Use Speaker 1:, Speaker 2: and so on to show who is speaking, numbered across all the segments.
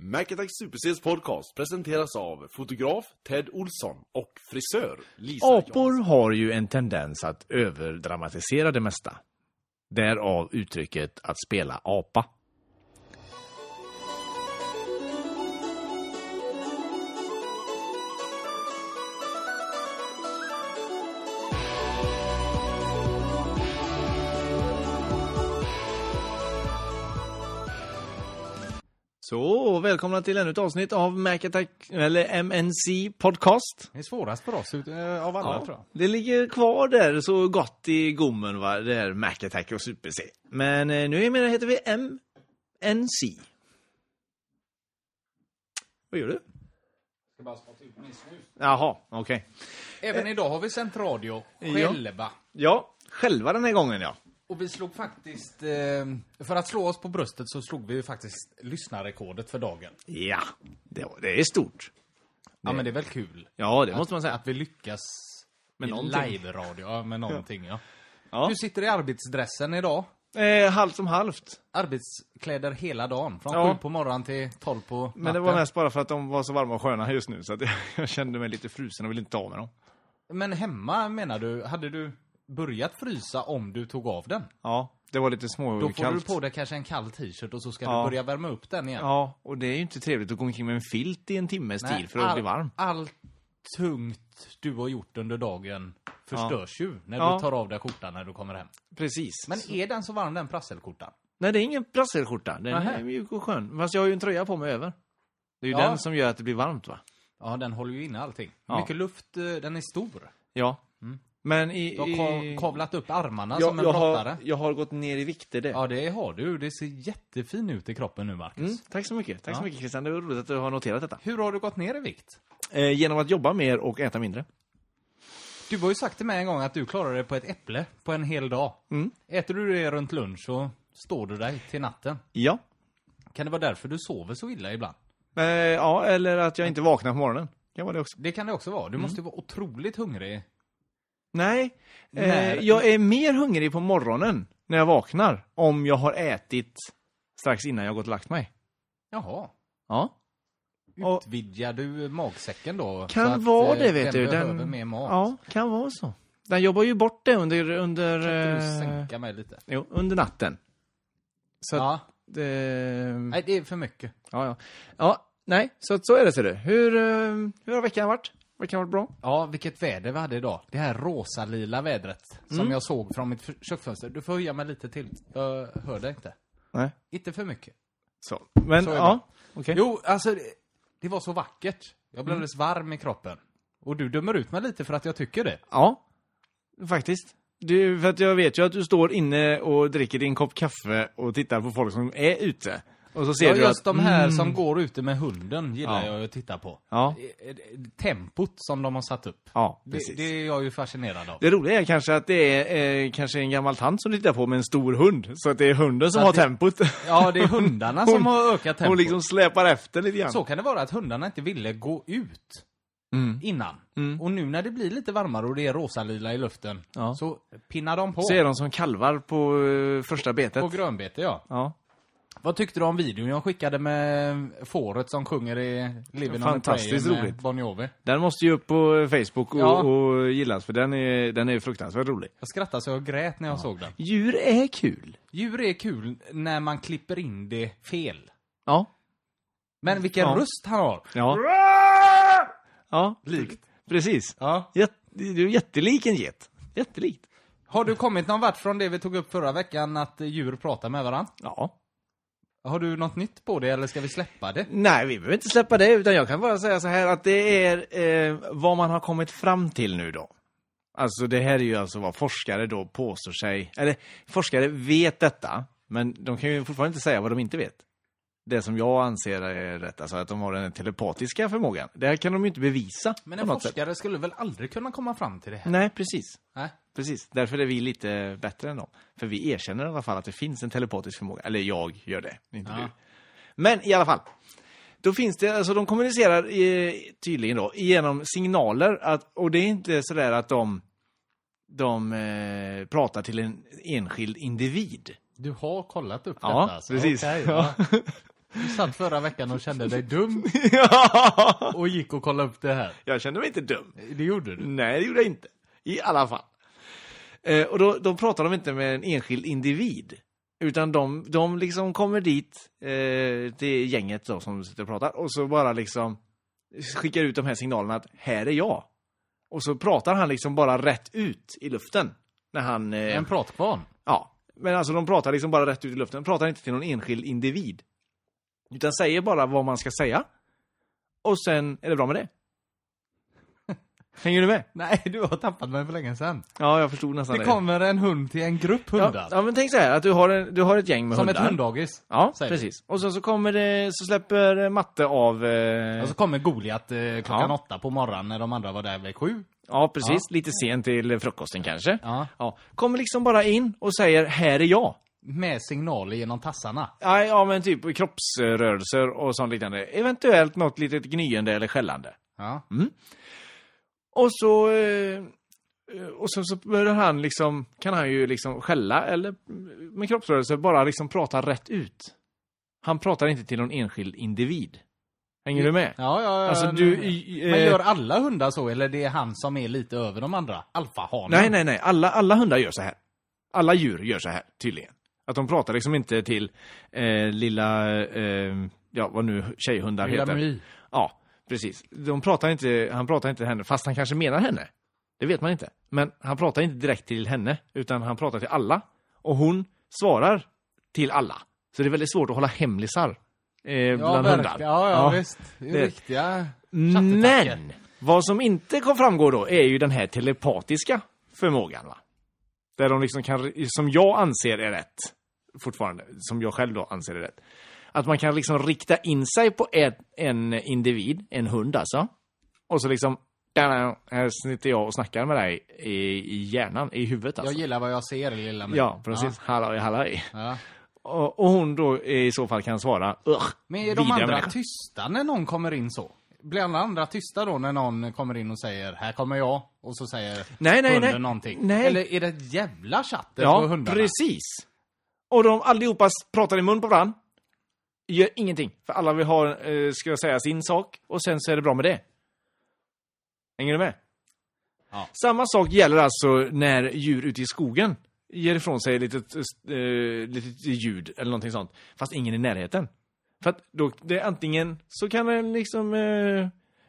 Speaker 1: Mac Supersels podcast presenteras av fotograf Ted Olsson och frisör Lisa
Speaker 2: Apor har ju en tendens att överdramatisera det mesta. Därav uttrycket att spela apa. Så, välkomna till ännu ett avsnitt av Mac Attack, eller MNC Podcast.
Speaker 3: Det är svårast för oss ut- eh, av alla tror jag.
Speaker 2: Det ligger kvar där så gott i gommen, va? det här Mac Attack och Super C. Men eh, nu menar, heter vi MNC. Vad gör du?
Speaker 3: Ska bara spotta ut min snus.
Speaker 2: Jaha, okej.
Speaker 3: Även idag har vi sänt radio
Speaker 2: Ja.
Speaker 3: själva.
Speaker 2: Ja, själva den här gången ja.
Speaker 3: Och vi slog faktiskt, eh, för att slå oss på bröstet så slog vi ju faktiskt lyssnarrekordet för dagen.
Speaker 2: Ja, det, var- det är stort.
Speaker 3: Ja men det är väl kul.
Speaker 2: Ja, det måste man säga.
Speaker 3: Att vi lyckas
Speaker 2: Med
Speaker 3: med
Speaker 2: någonting.
Speaker 3: live-radio, ja med någonting ja.
Speaker 2: Ja.
Speaker 3: Du sitter i arbetsdressen idag.
Speaker 2: Eh, halvt om halvt.
Speaker 3: Arbetskläder hela dagen. Från
Speaker 2: Ja.
Speaker 3: sju på morgonen till tolv på natten.
Speaker 2: Men det var mest bara för att de var så varma och sköna just nu så att jag, jag kände mig lite frusen och ville inte ta av mig dem.
Speaker 3: Men hemma menar du, hade du börjat frysa om du tog av den?
Speaker 2: Ja, det var lite småkallt.
Speaker 3: Då får du på dig kanske en kall t-shirt och så ska
Speaker 2: Ja.
Speaker 3: du börja värma upp den igen.
Speaker 2: Ja, och det är ju inte trevligt att gå omkring med en filt i en timmes
Speaker 3: Nej,
Speaker 2: tid för att
Speaker 3: all-
Speaker 2: bli varm.
Speaker 3: Allt tungt du har gjort under dagen förstörs ju när
Speaker 2: Ja.
Speaker 3: du tar av dig skjortan när du kommer hem.
Speaker 2: Precis.
Speaker 3: Men är den så varm den prasselskjortan?
Speaker 2: Nej, det är ingen prasselskjorta. Den
Speaker 3: Nähä.
Speaker 2: är mjuk och skön. Fast jag har ju en tröja på mig över. Det är ju
Speaker 3: Ja.
Speaker 2: den som gör att det blir varmt, va?
Speaker 3: Ja, den håller ju inne allting.
Speaker 2: Ja.
Speaker 3: Mycket luft, eh, den är stor.
Speaker 2: Ja. Mm. Men i...
Speaker 3: Du har
Speaker 2: i-
Speaker 3: ka- kavlat upp armarna
Speaker 2: jag,
Speaker 3: som en
Speaker 2: jag,
Speaker 3: brottare.
Speaker 2: har, jag har gått ner i vikt, det är det.
Speaker 3: Ja, det har du. Det ser jättefin ut i kroppen nu, Marcus.
Speaker 2: Mm, tack så mycket. Tack så
Speaker 3: Ja.
Speaker 2: mycket, Christian. Det var roligt att du har noterat detta.
Speaker 3: Hur har du gått ner i vikt?
Speaker 2: Eh, genom att jobba mer och äta mindre.
Speaker 3: Du har ju sagt till mig en gång att du klarar dig på ett äpple på en hel dag.
Speaker 2: Mm.
Speaker 3: Äter du det runt lunch så står du dig till natten.
Speaker 2: Ja.
Speaker 3: Kan det vara därför du sover så illa ibland?
Speaker 2: Eh, ja, eller att jag inte vaknar på morgonen. Kan vara det också.
Speaker 3: Det kan det också vara. Du måste ju vara otroligt hungrig.
Speaker 2: Nej. Eh,
Speaker 3: När-
Speaker 2: jag är mer hungrig på morgonen när jag vaknar. Om jag har ätit strax innan jag gått och lagt mig.
Speaker 3: Jaha.
Speaker 2: Ja. Och-
Speaker 3: Utvidgar du magsäcken då? så
Speaker 2: Kan
Speaker 3: att,
Speaker 2: vara
Speaker 3: eh,
Speaker 2: det, vet du.
Speaker 3: Den behöver mer mat.
Speaker 2: Ja, kan vara så. Den jobbar ju bort det under, under,
Speaker 3: Kan inte du
Speaker 2: eh,
Speaker 3: sänka mig lite?
Speaker 2: jo, under natten. Så att,
Speaker 3: Ja.
Speaker 2: eh,
Speaker 3: Nej, det är för mycket.
Speaker 2: ja, ja. ja, nej, så, att så är det ser du. Hur, eh, hur har veckan varit? Veckan har varit bra?
Speaker 3: Ja, vilket väder vi hade idag. Det här rosa-lila vädret som jag såg från mitt f- köksfönster. Du får höja mig lite till. Jag hör dig inte.
Speaker 2: Nej.
Speaker 3: Inte för mycket.
Speaker 2: Så. Men,
Speaker 3: Så är det.
Speaker 2: ja, okej.
Speaker 3: Jo, alltså det, det var så vackert. Jag blev alldeles varm i kroppen. Och du dömer ut mig lite för att jag tycker det.
Speaker 2: Ja, faktiskt. Du, för att jag vet ju att du står inne och dricker din kopp kaffe och tittar på folk som är ute. Och så ser
Speaker 3: Ja,
Speaker 2: du
Speaker 3: just
Speaker 2: att... Mm.
Speaker 3: de här som går ute med hunden gillar
Speaker 2: Ja.
Speaker 3: jag att titta på.
Speaker 2: Ja,
Speaker 3: Eh, eh, Tempot som de har satt upp.
Speaker 2: ja,
Speaker 3: Det,
Speaker 2: precis.
Speaker 3: det är jag ju fascinerad av.
Speaker 2: Det roliga är kanske att det är eh, kanske en gammal tant som tittar på med en stor hund. Så att det är hunden som
Speaker 3: Så
Speaker 2: har
Speaker 3: att det-
Speaker 2: tempot.
Speaker 3: Ja, det är hundarna som
Speaker 2: Hon-
Speaker 3: har ökat tempot.
Speaker 2: Hon liksom släpar efter lite grann.
Speaker 3: Så kan det vara att hundarna inte ville gå ut
Speaker 2: Mm.
Speaker 3: innan. Och nu när det blir lite varmare och det är rosalila i luften
Speaker 2: Ja.
Speaker 3: så pinnar de på.
Speaker 2: Så är de som kalvar på eh, första betet.
Speaker 3: På grönbete, ja.
Speaker 2: Ja,
Speaker 3: Vad tyckte du om videon jag skickade med fåret som sjunger i Living on a
Speaker 2: Fantastiskt
Speaker 3: Prayer med
Speaker 2: roligt.
Speaker 3: Bon Jovi?
Speaker 2: den måste ju upp på Facebook och,
Speaker 3: Ja.
Speaker 2: och gillas för den är, den är fruktansvärt rolig.
Speaker 3: Jag skrattade så jag grät när jag såg den.
Speaker 2: Djur är kul.
Speaker 3: Djur är kul när man klipper in det fel.
Speaker 2: Ja.
Speaker 3: Men vilken
Speaker 2: Mm. Ja.
Speaker 3: röst han har!
Speaker 2: Ja. ja.
Speaker 3: Likt.
Speaker 2: Precis.
Speaker 3: Ja.
Speaker 2: Jätte, du är jättelik en get. Jättelikt.
Speaker 3: Har du kommit någon vart från det vi tog upp förra veckan, att djur pratar med varandra?
Speaker 2: Ja.
Speaker 3: Har du något nytt på det, eller ska vi släppa det?
Speaker 2: Nej, vi behöver inte släppa det, utan jag kan bara säga så här att det är eh, vad man har kommit fram till nu då. Alltså det här är ju alltså vad forskare då påstår sig, eller forskare vet detta, men de kan ju fortfarande inte säga vad de inte vet. Det som jag anser är rätt, alltså att de har den telepatiska förmågan. Det här kan de ju inte bevisa
Speaker 3: Men
Speaker 2: på
Speaker 3: en
Speaker 2: något sätt. Mm.
Speaker 3: forskare skulle väl aldrig kunna komma fram till det här?
Speaker 2: Nej, precis.
Speaker 3: Nej.
Speaker 2: Precis, därför är vi lite bättre än dem. För vi erkänner i alla fall att det finns en telepatisk förmåga. Eller jag gör det, inte
Speaker 3: Ja.
Speaker 2: du. Men i alla fall. Då finns det, alltså de kommunicerar eh, tydligen då genom signaler. Att, och det är inte sådär att de, de eh, pratar till en enskild individ.
Speaker 3: Du har kollat upp
Speaker 2: Ja,
Speaker 3: detta? alltså.
Speaker 2: precis.
Speaker 3: Okej,
Speaker 2: Ja.
Speaker 3: ja. Du satt förra veckan och kände dig dum
Speaker 2: Ja.
Speaker 3: och gick och kollade upp det här.
Speaker 2: Jag kände mig inte dum.
Speaker 3: Det gjorde du.
Speaker 2: Nej, det gjorde jag inte. I alla fall. Eh, och då, då pratar de inte med en enskild individ. Utan de, de liksom kommer dit, eh, till gänget då, som sitter och pratar, och så bara liksom skickar ut de här signalerna att här är jag. Och så pratar han liksom bara rätt ut i luften. När han... eh,
Speaker 3: En pratkvarn.
Speaker 2: Ja, men alltså de pratar liksom bara rätt ut i luften. De pratar inte till någon enskild individ. Utan säger bara vad man ska säga. Och sen är det bra med det. Hänger du med?
Speaker 3: Nej, du har tappat mig för länge sedan.
Speaker 2: Ja, jag förstod nästan
Speaker 3: Det kommer en hund till en grupp
Speaker 2: Ja,
Speaker 3: hundar.
Speaker 2: ja, men tänk så här att du har, en, du har ett gäng med
Speaker 3: Som
Speaker 2: hundar.
Speaker 3: ett hunddagis.
Speaker 2: Ja,
Speaker 3: säger vi.
Speaker 2: precis. Och sen så kommer det, så släpper eh, matte av... Eh,
Speaker 3: Och så kommer Goliat eh, klockan
Speaker 2: Ja.
Speaker 3: åtta på morgonen när de andra var där vid sju.
Speaker 2: ja, precis. Lite sent till frukosten kanske.
Speaker 3: Ja.
Speaker 2: Ja. Kommer liksom bara in och säger här är jag.
Speaker 3: Med signaler genom tassarna.
Speaker 2: Ja, ja men typ kroppsrörelser och sånt liknande. Eventuellt något litet gnyende eller skällande.
Speaker 3: Ja.
Speaker 2: Och så... eh, Och så, så börjar han liksom, kan han ju liksom skälla eller med kroppsrörelser bara liksom prata rätt ut. Han pratar inte till någon enskild individ. Hänger du med?
Speaker 3: Ja, ja, ja.
Speaker 2: Alltså
Speaker 3: Äh, nej,
Speaker 2: du...
Speaker 3: nej.
Speaker 2: i-
Speaker 3: Men
Speaker 2: eh,
Speaker 3: gör alla hundar så, eller det är han som är lite över de andra? Alfahanen?
Speaker 2: Nej, nej, nej. Alla, alla hundar gör så här. Alla djur gör så här, tydligen. Att de pratar liksom inte till eh, lilla, eh, ja vad nu tjejhundar
Speaker 3: Lilla
Speaker 2: heter.
Speaker 3: My.
Speaker 2: Ja, precis. De pratar inte, han pratar inte till henne, fast han kanske menar henne. Det vet man inte. Men han pratar inte direkt till henne, utan han pratar till alla. Och hon svarar till alla. Så det är väldigt svårt att hålla hemlisar eh,
Speaker 3: Ja,
Speaker 2: bland hundar.
Speaker 3: verkligen. Ja, ja, visst. Det är
Speaker 2: det-
Speaker 3: riktiga chattetacker.
Speaker 2: Men vad som inte kom framgår då är ju den här telepatiska förmågan. Va? Där de liksom kan, som jag anser är rätt, fortfarande, som jag själv då anser är rätt. Att man kan liksom rikta in sig på en, en individ, en hund alltså. Och så liksom, "Tada, här sitter jag och snackar med dig i, i hjärnan, i huvudet
Speaker 3: Jag
Speaker 2: alltså.
Speaker 3: gillar vad jag ser, lilla mig.
Speaker 2: Ja, precis. Halloj, halloj.
Speaker 3: Ja.
Speaker 2: Och, och hon då i så fall kan svara, "Ugh,
Speaker 3: Men är de
Speaker 2: vidriga
Speaker 3: andra
Speaker 2: människa."
Speaker 3: tysta när någon kommer in så? Blir alla andra tysta då när någon kommer in och säger här kommer jag och så säger
Speaker 2: Nej, nej,
Speaker 3: hunden
Speaker 2: nej.
Speaker 3: någonting?
Speaker 2: Nej.
Speaker 3: Eller är det ett jävla chatter på
Speaker 2: Ja,
Speaker 3: hundarna?
Speaker 2: precis. Och de allihopa s- pratar i mun på varandra. Gör ingenting. För alla vill ha, eh, ska jag säga, sin sak. Och sen så är det bra med det. Hänger du med?
Speaker 3: Ja.
Speaker 2: Samma sak gäller alltså när djur ute i skogen ger ifrån sig lite, eh, lite ljud eller någonting sånt. Fast ingen i närheten. För att då, det är antingen så kan den liksom eh,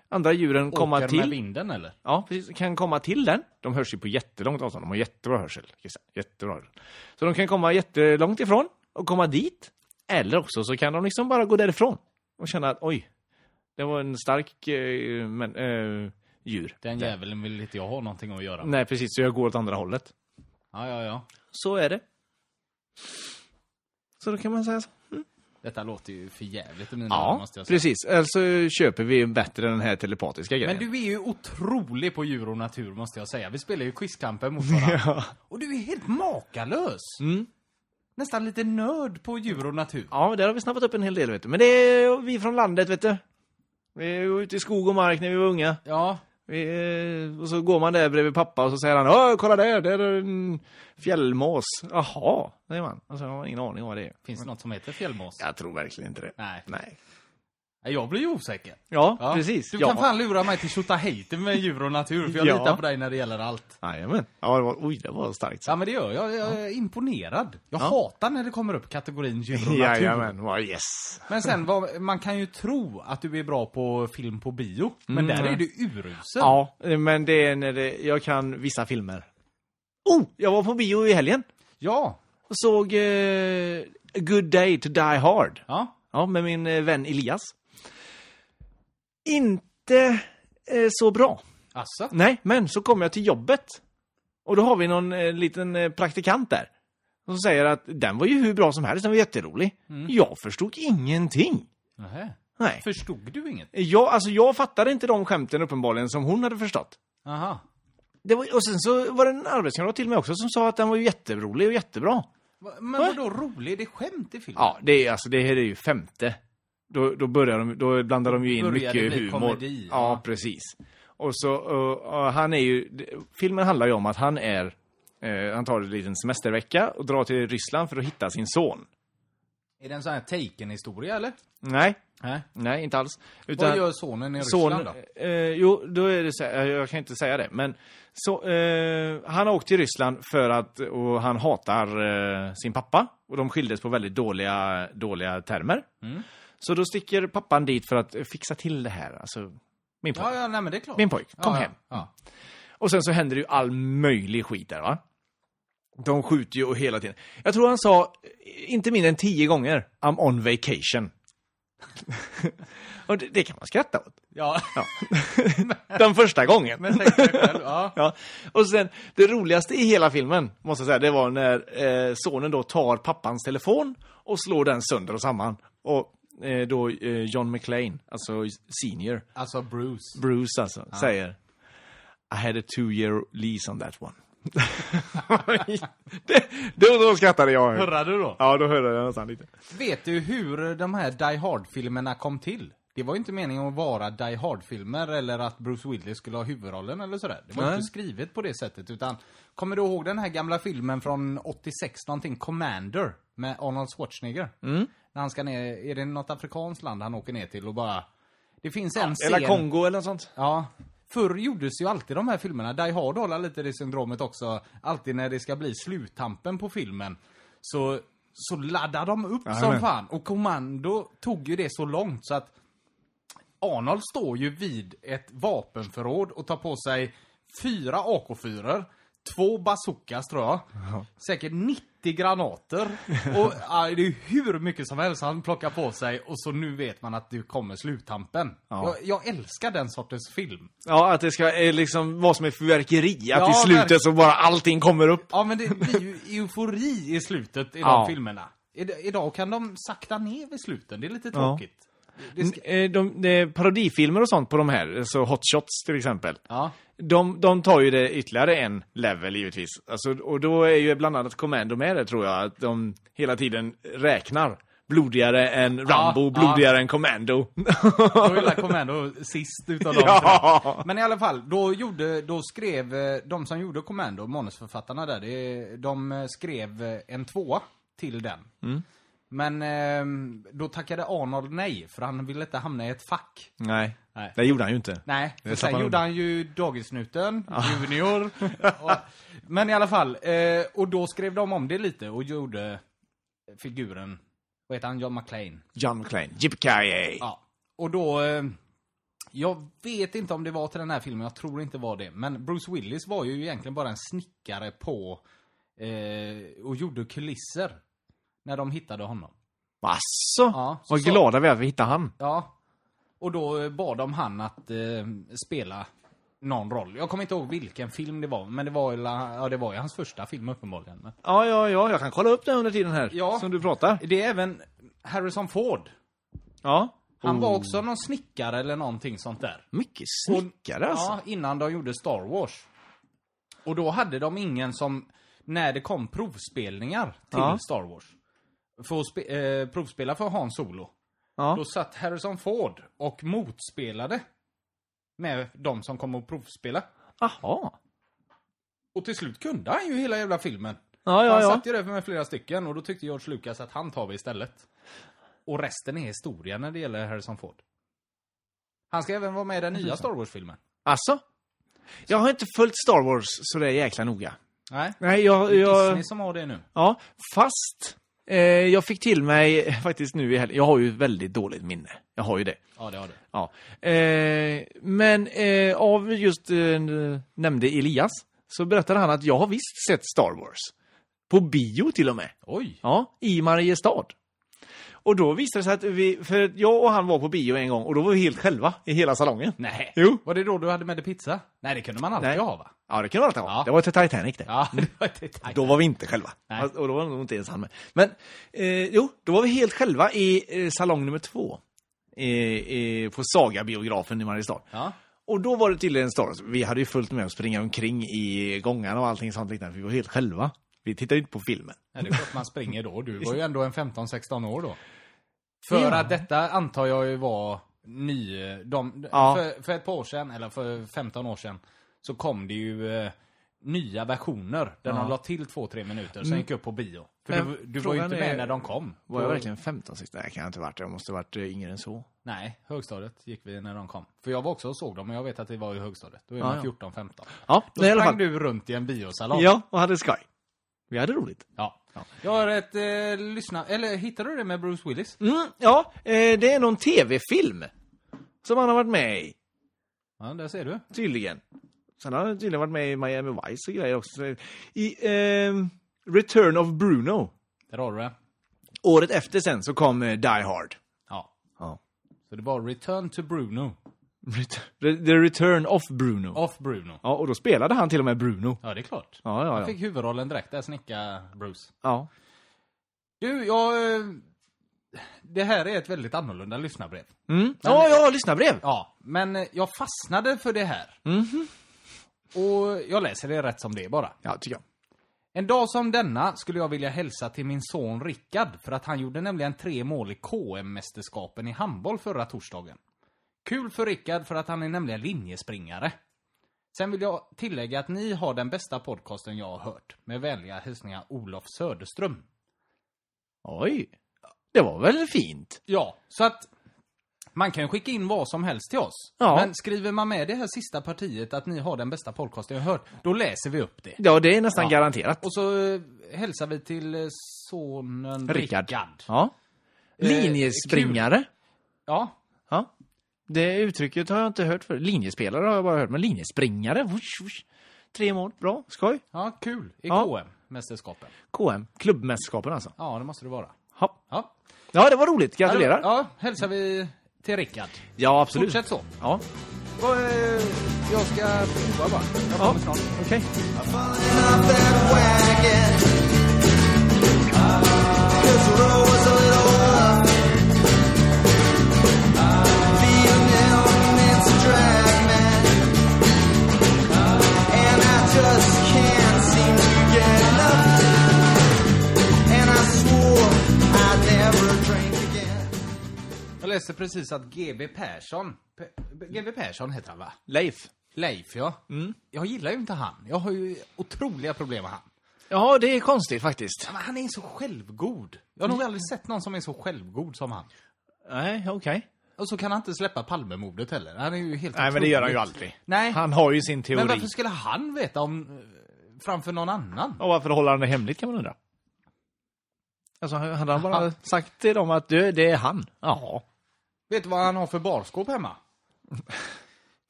Speaker 2: andra djuren komma
Speaker 3: Åker med
Speaker 2: till.
Speaker 3: vinden eller?
Speaker 2: Ja, precis. Kan komma till den. De hörs ju på jättelångt avstånd. De har jättebra hörsel. Christian. Jättebra hörsel. Så de kan komma jättelångt ifrån och komma dit. Eller också så kan de liksom bara gå därifrån och känna att oj, det var en stark eh, men, eh, djur.
Speaker 3: Den
Speaker 2: där.
Speaker 3: jäveln vill inte jag ha någonting att göra med.
Speaker 2: Nej, precis. Så jag går åt andra hållet.
Speaker 3: Ja, ja, ja.
Speaker 2: Så är det. Så då kan man säga så.
Speaker 3: Detta låter ju för jävligt i mina öron,
Speaker 2: Ja,
Speaker 3: måste jag säga.
Speaker 2: precis. Alltså köper vi bättre den här telepatiska grejen.
Speaker 3: Men du är ju otrolig på djur och natur måste jag säga. Vi spelar ju quizkamper mot varandra. Och du är helt makalös!
Speaker 2: Mm.
Speaker 3: Nästan lite nörd på djur och natur.
Speaker 2: Ja, där har vi snappat upp en hel del, vet du. Men det är vi från landet, vet du. Vi var ute i skog och mark när vi var unga.
Speaker 3: Ja,
Speaker 2: Vi, eh, och så går man där bredvid pappa och så säger han Åh, kolla där, där är en fjällmås. Jaha, säger man. Och så har man ingen aning om vad det är.
Speaker 3: finns det något som heter fjällmås?
Speaker 2: Jag tror verkligen inte det.
Speaker 3: Nej.
Speaker 2: Nej.
Speaker 3: Nej, Jag blir ju osäker.
Speaker 2: Ja,
Speaker 3: Ja.
Speaker 2: precis.
Speaker 3: Du
Speaker 2: ja.
Speaker 3: kan fan lura mig till Tjotahejti med djur och natur, för jag
Speaker 2: Ja.
Speaker 3: litar på dig när det gäller allt.
Speaker 2: Jajamän. Ja, det var, oj, det var starkt.
Speaker 3: Ja men det gör jag, jag är imponerad. Jag hatar när det kommer upp kategorin djur och natur.
Speaker 2: Jajamän, ja, yes.
Speaker 3: Men sen, vad, man kan ju tro att du är bra på film på bio, men
Speaker 2: Mm.
Speaker 3: där är du urusel.
Speaker 2: Ja, men det är när det, jag kan vissa filmer. Oh, jag var på bio i helgen
Speaker 3: Ja,
Speaker 2: och såg eh, A Good Day to Die Hard.
Speaker 3: ja.
Speaker 2: Ja, med min eh, vän Elias. Inte eh, så bra.
Speaker 3: Asså?
Speaker 2: Nej, men så kommer jag till jobbet. Och då har vi någon eh, liten eh, praktikant där. Som säger att den var ju hur bra som helst, den var jätterolig. Jag förstod ingenting.
Speaker 3: Nähä.
Speaker 2: Nej.
Speaker 3: Förstod du inget?
Speaker 2: Jag, alltså, jag fattade inte de skämten uppenbarligen som hon hade förstått.
Speaker 3: Aha.
Speaker 2: Det var, och sen så var det en arbetskamrat till mig också som sa att den var ju jätterolig och jättebra.
Speaker 3: Va- Men vadå rolig? Det är skämt i filmen.
Speaker 2: Ja, det är, alltså, det här är ju femte. Då, då, börjar de, då blandar de ju in
Speaker 3: Börjar
Speaker 2: mycket
Speaker 3: det bli
Speaker 2: humor.
Speaker 3: komedi,
Speaker 2: ja,
Speaker 3: va?
Speaker 2: precis. Och så, och, och han är ju, det- filmen handlar ju om att han är, eh, han tar en liten semestervecka och drar till Ryssland för att hitta sin son.
Speaker 3: Är det en sån här taken-historia eller?
Speaker 2: Nej,
Speaker 3: Nej.
Speaker 2: nej inte alls.
Speaker 3: Vad gör sonen i Ryssland
Speaker 2: Son,
Speaker 3: då?
Speaker 2: eh, jo, då är det så här, jag kan inte säga det, men så, eh, han har åkt till Ryssland för att, och han hatar eh, sin pappa. Och de skildes på väldigt dåliga, dåliga termer.
Speaker 3: Mm.
Speaker 2: Så då sticker pappan dit för att eh, fixa till det här. Alltså, min pappa.
Speaker 3: Ja, ja, nej men det är klart.
Speaker 2: Min pojk, kom
Speaker 3: ja,
Speaker 2: hem.
Speaker 3: Ja,
Speaker 2: Och sen så händer det ju all möjlig skit där va. De skjuter ju och hela tiden. Jag tror han sa eh, inte mindre än tio gånger I'm on vacation. och det, det kan man skratta åt.
Speaker 3: ja. ja.
Speaker 2: Ja. Den första gången.
Speaker 3: men tänk dig själv. Ja.
Speaker 2: Ja. Och sen, det roligaste i hela filmen, måste jag säga, det var när eh, sonen då tar pappans telefon och slår den sönder och samman. Och eh, då eh, John McClane, alltså senior,
Speaker 3: Alltså Bruce.
Speaker 2: Bruce alltså, säger I had a two year lease on that one. det, då, då skrattade jag.
Speaker 3: Hörde du då?
Speaker 2: Ja, då hörde jag nästan lite.
Speaker 3: Vet du hur de här Die Hard-filmerna kom till? Det var ju inte meningen att vara Die Hard-filmer eller att Bruce Willis skulle ha huvudrollen eller sådär. Det var
Speaker 2: Nej.
Speaker 3: inte skrivet på det sättet utan Kommer du ihåg den här gamla filmen från 86 någonting, Commander? Med Arnold Schwarzenegger? När han ska ner, är det något afrikanskt land han åker ner till och bara Det finns en scen
Speaker 2: Eller Kongo eller något sånt.
Speaker 3: Ja. Förr gjordes ju alltid de här filmerna. Die Hard har lite det syndromet också. Alltid när det ska bli sluttampen på filmen. Så, så laddar de upp som
Speaker 2: Jajamän.
Speaker 3: fan. Och Commando tog ju det så långt så att Arnold står ju vid ett vapenförråd och tar på sig fyra AK4, två bazookas tror jag, säkert 90 granater och ja, det är hur mycket som helst han plockar på sig och så nu vet man att det kommer sluttampen.
Speaker 2: Ja.
Speaker 3: Jag, jag älskar den sortens film.
Speaker 2: Ja, att det ska eh, liksom vara som ett fyrverkeri. Att
Speaker 3: Ja,
Speaker 2: i
Speaker 3: verkligen.
Speaker 2: slutet så bara allting kommer upp.
Speaker 3: Ja men det blir ju eufori i slutet i de
Speaker 2: Ja.
Speaker 3: filmerna. Id- Idag kan de sakta ner vid sluten, det är lite tråkigt. Det ska...
Speaker 2: Eh, de, de, parodifilmer och sånt på de här, så Hot Shots till exempel.
Speaker 3: Ja.
Speaker 2: De, de tar ju det ytterligare en level givetvis. Alltså, och då är ju bland annat Commando med det tror jag, att de hela tiden räknar. Blodigare än Rambo,
Speaker 3: ja.
Speaker 2: blodigare än Commando.
Speaker 3: Då är väl Commando sist utav dem.
Speaker 2: ja.
Speaker 3: Men i alla fall, då, gjorde, då skrev eh, de som gjorde Commando, manusförfattarna där, det, de eh, skrev eh, en tvåa till den.
Speaker 2: Mm.
Speaker 3: Men ehm, då tackade Arnold nej, för han ville inte hamna i ett fack.
Speaker 2: Nej.
Speaker 3: Nej.
Speaker 2: det gjorde han ju inte.
Speaker 3: Nej,
Speaker 2: Det
Speaker 3: för
Speaker 2: tappade
Speaker 3: sen
Speaker 2: de.
Speaker 3: gjorde han ju Dagisnuten, Junior. Och, men i alla fall, eh, och då skrev de om det lite och gjorde figuren, vad heter han, John McClane.
Speaker 2: John McClane, Yippee
Speaker 3: Ja. Och då... eh, Jag vet inte om det var till den här filmen, jag tror inte det var det. Men Bruce Willis var ju egentligen bara en snickare på... Eh, och gjorde kulisser. När de hittade honom.
Speaker 2: Asså?
Speaker 3: Ja, så
Speaker 2: Vad
Speaker 3: sa-
Speaker 2: glada vi är att vi hittade han.
Speaker 3: Ja. Och då eh, bad de han att eh, spela någon roll. Jag kommer inte ihåg vilken film det var, men det var ju, la- ja, det var ju hans första film uppenbarligen. Men.
Speaker 2: Ja, ja, ja, jag kan kolla upp det under tiden här
Speaker 3: Ja.
Speaker 2: som du pratar.
Speaker 3: Det är även Harrison Ford.
Speaker 2: Ja.
Speaker 3: Han
Speaker 2: Oh.
Speaker 3: var också någon snickare eller någonting sånt där.
Speaker 2: Mycket
Speaker 3: Och-
Speaker 2: snickare alltså.
Speaker 3: Ja, innan de gjorde Star Wars. Och då hade de ingen som, när det kom provspelningar till
Speaker 2: Ja.
Speaker 3: Star Wars. För att spe, eh, provspela för Han Solo.
Speaker 2: Ja.
Speaker 3: Då satt Harrison Ford och motspelade. Med de som kom och provspela.
Speaker 2: Aha.
Speaker 3: Och till slut kunde han ju hela jävla filmen.
Speaker 2: Ja, ja,
Speaker 3: han
Speaker 2: ja.
Speaker 3: satt ju där med flera stycken och då tyckte George Lucas att han tar vi istället. Och resten är historia när det gäller Harrison Ford. Han ska även vara med i den nya Star Wars-filmen.
Speaker 2: Alltså? Jag har inte följt Star Wars så det är jäkla noga.
Speaker 3: Nej.
Speaker 2: Nej, jag... jag
Speaker 3: Disney som har det nu.
Speaker 2: ja, fast eh, jag fick till mig faktiskt nu i helgen. Jag har ju väldigt dåligt minne. Jag har ju det.
Speaker 3: Ja, det har du.
Speaker 2: Ja. Eh, men eh, av just eh, nämnde Elias så berättade han att jag har visst sett Star Wars. På bio till och med.
Speaker 3: Oj!
Speaker 2: Ja, i Mariestad. Och då visade det sig att vi, för att jag och han var på bio en gång och då var vi helt själva i hela salongen.
Speaker 3: Nej.
Speaker 2: Jo.
Speaker 3: Var det då du hade med dig pizza? Nej, det kunde man alltid
Speaker 2: Nej.
Speaker 3: ha va?
Speaker 2: Ja, det kan vara att det var.
Speaker 3: Ja.
Speaker 2: Det var till Titanic det.
Speaker 3: Ja, det var detalj.
Speaker 2: Då var vi inte själva.
Speaker 3: Nej.
Speaker 2: Fast- Och då var nog inte ens han med. Men eh, jo, då var vi helt själva i eh, salong nummer två. Eh, eh, på Saga-biografen i Mariestad.
Speaker 3: Ja.
Speaker 2: Och då var det tydligen Star Wars. Vi hade ju fullt med att springa omkring i gångarna och allting sånt liknande. Vi var helt själva. Vi tittade ju inte på filmen.
Speaker 3: Nej, det är klart man springer då. Du var ju ändå en 15-16 år då. För
Speaker 2: Ja.
Speaker 3: att detta antar jag ju var ny... De,
Speaker 2: Ja.
Speaker 3: för, för ett par år sedan, eller för 15 år sedan, så kom det ju eh, nya versioner. Där
Speaker 2: Ja. Mm.
Speaker 3: de la till två, tre minuter, sen gick upp på bio. För
Speaker 2: Men
Speaker 3: du, du var ju
Speaker 2: frågan
Speaker 3: inte med
Speaker 2: är-
Speaker 3: när de kom.
Speaker 2: Var jag
Speaker 3: På-
Speaker 2: verkligen 15, 16? Nej, kan jag inte ha varit. Jag måste ha varit eh, yngre än så.
Speaker 3: Nej, högstadiet gick vi när de kom. För jag var också och såg dem, men jag vet att det var i högstadiet. Då är
Speaker 2: Ja,
Speaker 3: man
Speaker 2: ja.
Speaker 3: 14, 15.
Speaker 2: Ja,
Speaker 3: Då
Speaker 2: men i alla
Speaker 3: sprang
Speaker 2: fall.
Speaker 3: du runt i en biosalong.
Speaker 2: Ja, och hade skoj. Vi hade roligt.
Speaker 3: Ja. Jag har ett eh, lyssna... Eller hittade du det med Bruce Willis?
Speaker 2: Mm, ja, eh, det är någon tv-film. Som han har varit med i,
Speaker 3: Ja, där ser du.
Speaker 2: tydligen. Sen har han tydligen varit med i Miami Vice och grejer också. I ehm, Return of Bruno.
Speaker 3: Där har du det.
Speaker 2: Året efter sen så kom eh, Die Hard.
Speaker 3: Ja.
Speaker 2: Ja.
Speaker 3: Så det var Return to Bruno.
Speaker 2: Ret- The Return of Bruno.
Speaker 3: Off Bruno.
Speaker 2: Ja, och då spelade han till och med Bruno.
Speaker 3: Ja, det är klart.
Speaker 2: Ja,
Speaker 3: Jag
Speaker 2: ja, ja.
Speaker 3: fick huvudrollen direkt där, snicka Bruce.
Speaker 2: ja.
Speaker 3: Du, jag... eh, Det här är ett väldigt annorlunda lyssnarbrev.
Speaker 2: Mm. Ja, ja, lyssnarbrev.
Speaker 3: Ja, men eh, jag fastnade för det här.
Speaker 2: Mhm.
Speaker 3: Och jag läser det rätt som det är bara.
Speaker 2: Ja, tycker jag.
Speaker 3: En dag som denna skulle jag vilja hälsa till min son Rickard för att han gjorde nämligen tre mål i KM-mästerskapen i handboll förra torsdagen. Kul för Rickard för att han är nämligen linjespringare. Sen vill jag tillägga att ni har den bästa podcasten jag har hört. Med vänliga hälsningar Olof Söderström.
Speaker 2: Oj. Det var väl fint?
Speaker 3: Ja, så att man kan ju skicka in vad som helst till oss.
Speaker 2: Ja.
Speaker 3: Men skriver man med det här sista partiet att ni har den bästa podcasten jag har hört, då läser vi upp det.
Speaker 2: Ja, det är nästan
Speaker 3: Ja.
Speaker 2: garanterat.
Speaker 3: Och så eh, hälsar vi till eh, sonen
Speaker 2: Rickard.
Speaker 3: Rickard. Eh,
Speaker 2: Ja. Linjespringare.
Speaker 3: Ja,
Speaker 2: Ja. Det uttrycket har jag inte hört förut. Linjespelare har jag bara hört, men linjespringare. Vush, vush. Tre mål, bra, skoj.
Speaker 3: ja kul. I
Speaker 2: Ja.
Speaker 3: KM-mästerskapen.
Speaker 2: KM, klubbmästerskapen alltså.
Speaker 3: Ja, det måste det vara.
Speaker 2: Ja.
Speaker 3: Ja.
Speaker 2: ja, det var roligt. Gratulerar.
Speaker 3: Ja, hälsar vi till Rickard.
Speaker 2: Ja, absolut.
Speaker 3: Fortsätt så.
Speaker 2: Ja,
Speaker 3: Och, eh, Jag ska prova bara. Jag
Speaker 2: Ja.
Speaker 3: kommer snart.
Speaker 2: okej.
Speaker 3: Jag läste precis att GB Persson, P- GB Persson heter han va?
Speaker 2: Leif.
Speaker 3: Leif ja.
Speaker 2: Mm.
Speaker 3: Jag gillar ju inte han. Jag har ju otroliga problem med han.
Speaker 2: Ja, det är konstigt faktiskt.
Speaker 3: Men han är så självgod. Jag har
Speaker 2: Mm.
Speaker 3: nog aldrig sett någon som är så självgod som han.
Speaker 2: Nej, okej.
Speaker 3: Och så kan han inte släppa Palmemordet heller. Han är ju helt
Speaker 2: Nej, men det gör han ju
Speaker 3: otroligt.
Speaker 2: alltid.
Speaker 3: Nej.
Speaker 2: Han har ju sin teori.
Speaker 3: Men varför skulle han veta om eh, framför någon annan?
Speaker 2: Och varför håller han det hemligt kan man undra. Alltså, hade han bara
Speaker 3: Han-
Speaker 2: sagt till dem att du, det är han? Ja.
Speaker 3: Vet du vad han har för barskåp hemma?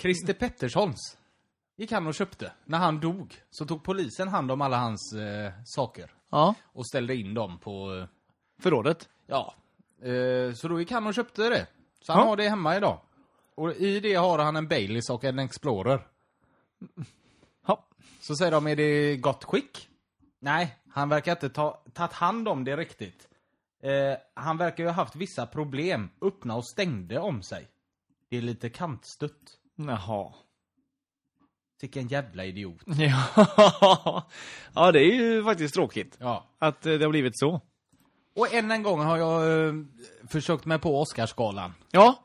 Speaker 3: Christer Petterssons. Gick han och köpte. När han dog så tog polisen hand om alla hans eh, saker.
Speaker 2: Ja.
Speaker 3: Och ställde in dem på... Eh,
Speaker 2: Förrådet?
Speaker 3: ja. Eh, så då gick han och köpte det. Så han
Speaker 2: Ja.
Speaker 3: har det hemma idag. Och i det har han en Baileys och en Explorer.
Speaker 2: Ja.
Speaker 3: Så säger de, är det i gott skick? Nej, han verkar inte ta tagit hand om det riktigt. Eh, han verkar ju ha haft vissa problem, öppna och stängde om sig. Det är lite kantstött.
Speaker 2: Jaha.
Speaker 3: Vilken jävla idiot.
Speaker 2: Ja. ja, det är ju faktiskt tråkigt
Speaker 3: Ja.
Speaker 2: att eh, det har blivit så.
Speaker 3: Och än en gång har jag eh, försökt mig på Oscarsgalan.
Speaker 2: Ja,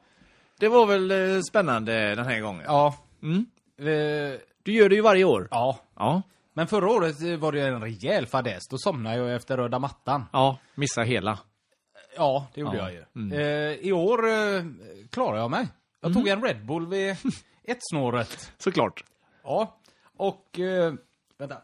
Speaker 2: det var väl eh, spännande den här gången.
Speaker 3: Ja.
Speaker 2: Mm.
Speaker 3: Eh,
Speaker 2: Du gör det ju varje år.
Speaker 3: ja.
Speaker 2: Ja.
Speaker 3: Men förra året eh, var det ju en rejäl fadäs. Då somnade jag efter röda mattan.
Speaker 2: Ja, missa hela.
Speaker 3: Ja, det gjorde
Speaker 2: Ja.
Speaker 3: jag ju. Eh, I år eh, klarade jag mig. Jag tog en Red Bull vid ett snåret.
Speaker 2: Såklart.
Speaker 3: Ja, och... Eh, vänta.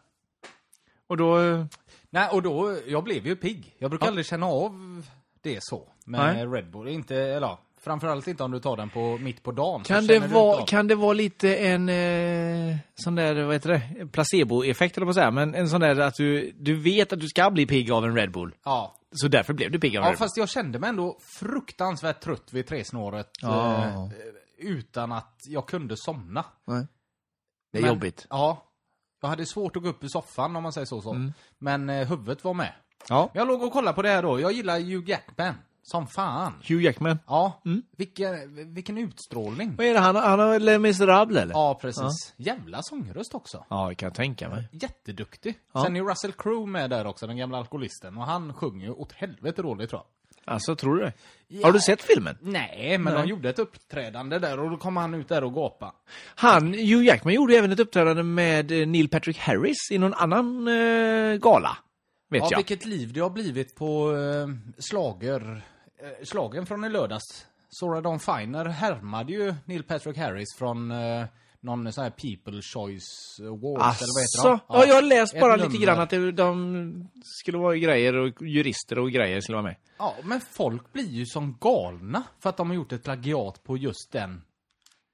Speaker 2: Och då... eh,
Speaker 3: Nej, och då, jag blev ju pigg. Jag brukar aldrig känna av det så med
Speaker 2: Nej.
Speaker 3: Red Bull. Inte, eller ja, framförallt inte om du tar den på, mitt på dagen. så
Speaker 2: Kan det,
Speaker 3: känner du inte
Speaker 2: vara,
Speaker 3: av-
Speaker 2: kan det vara lite en eh, sån där, vad heter det, placeboeffekt eller på att säga, men en sån där att du, du vet att du ska bli pigg av en Red Bull,
Speaker 3: Ja.
Speaker 2: så därför blev du pigg av en
Speaker 3: ja,
Speaker 2: Red Bull.
Speaker 3: fast jag kände mig ändå fruktansvärt trött vid tresnåret.
Speaker 2: Ja.
Speaker 3: Eh, utan att jag kunde somna.
Speaker 2: Nej. Det är
Speaker 3: Men-
Speaker 2: jobbigt.
Speaker 3: Ja. Jag hade svårt att gå upp i soffan om man säger så. så. Men eh, huvudet var med.
Speaker 2: Ja.
Speaker 3: Jag låg och kollade på det här då. Jag gillar Hugh Jackman. Som fan.
Speaker 2: Hugh Jackman.
Speaker 3: Ja, vilken, vilken utstrålning.
Speaker 2: Vad är det, han, han har Les Misérables eller?
Speaker 3: Ja, precis. Jävla sångröst också.
Speaker 2: ja, det kan jag tänka mig.
Speaker 3: Jätteduktig.
Speaker 2: Ja.
Speaker 3: Sen är ju Russell Crowe med där också, den gamla alkoholisten. Och han sjunger ju åt helvete dåligt tror jag.
Speaker 2: Alltså, tror du det?
Speaker 3: Ja.
Speaker 2: Har du sett filmen?
Speaker 3: Nej, men de gjorde ett uppträdande där och då kom han ut där och gapade.
Speaker 2: Han, Hugh Jackman gjorde även ett uppträdande med eh, Neil Patrick Harris i någon annan eh, gala. Vet
Speaker 3: Ja,
Speaker 2: jag.
Speaker 3: vilket liv det har blivit på eh, slager. Eh, slagen från i lördags. Zora Dawn Finer härmade ju Neil Patrick Harris från eh, någon sån här People Choice Awards eller vad heter
Speaker 2: Asså?
Speaker 3: de?
Speaker 2: Alltså, Ja, jag har läst
Speaker 3: Ett
Speaker 2: bara lite
Speaker 3: nummer.
Speaker 2: grann att det, de skulle vara grejer och jurister och grejer skulle vara med.
Speaker 3: Ja, men folk blir ju som galna för att de har gjort ett plagiat på just den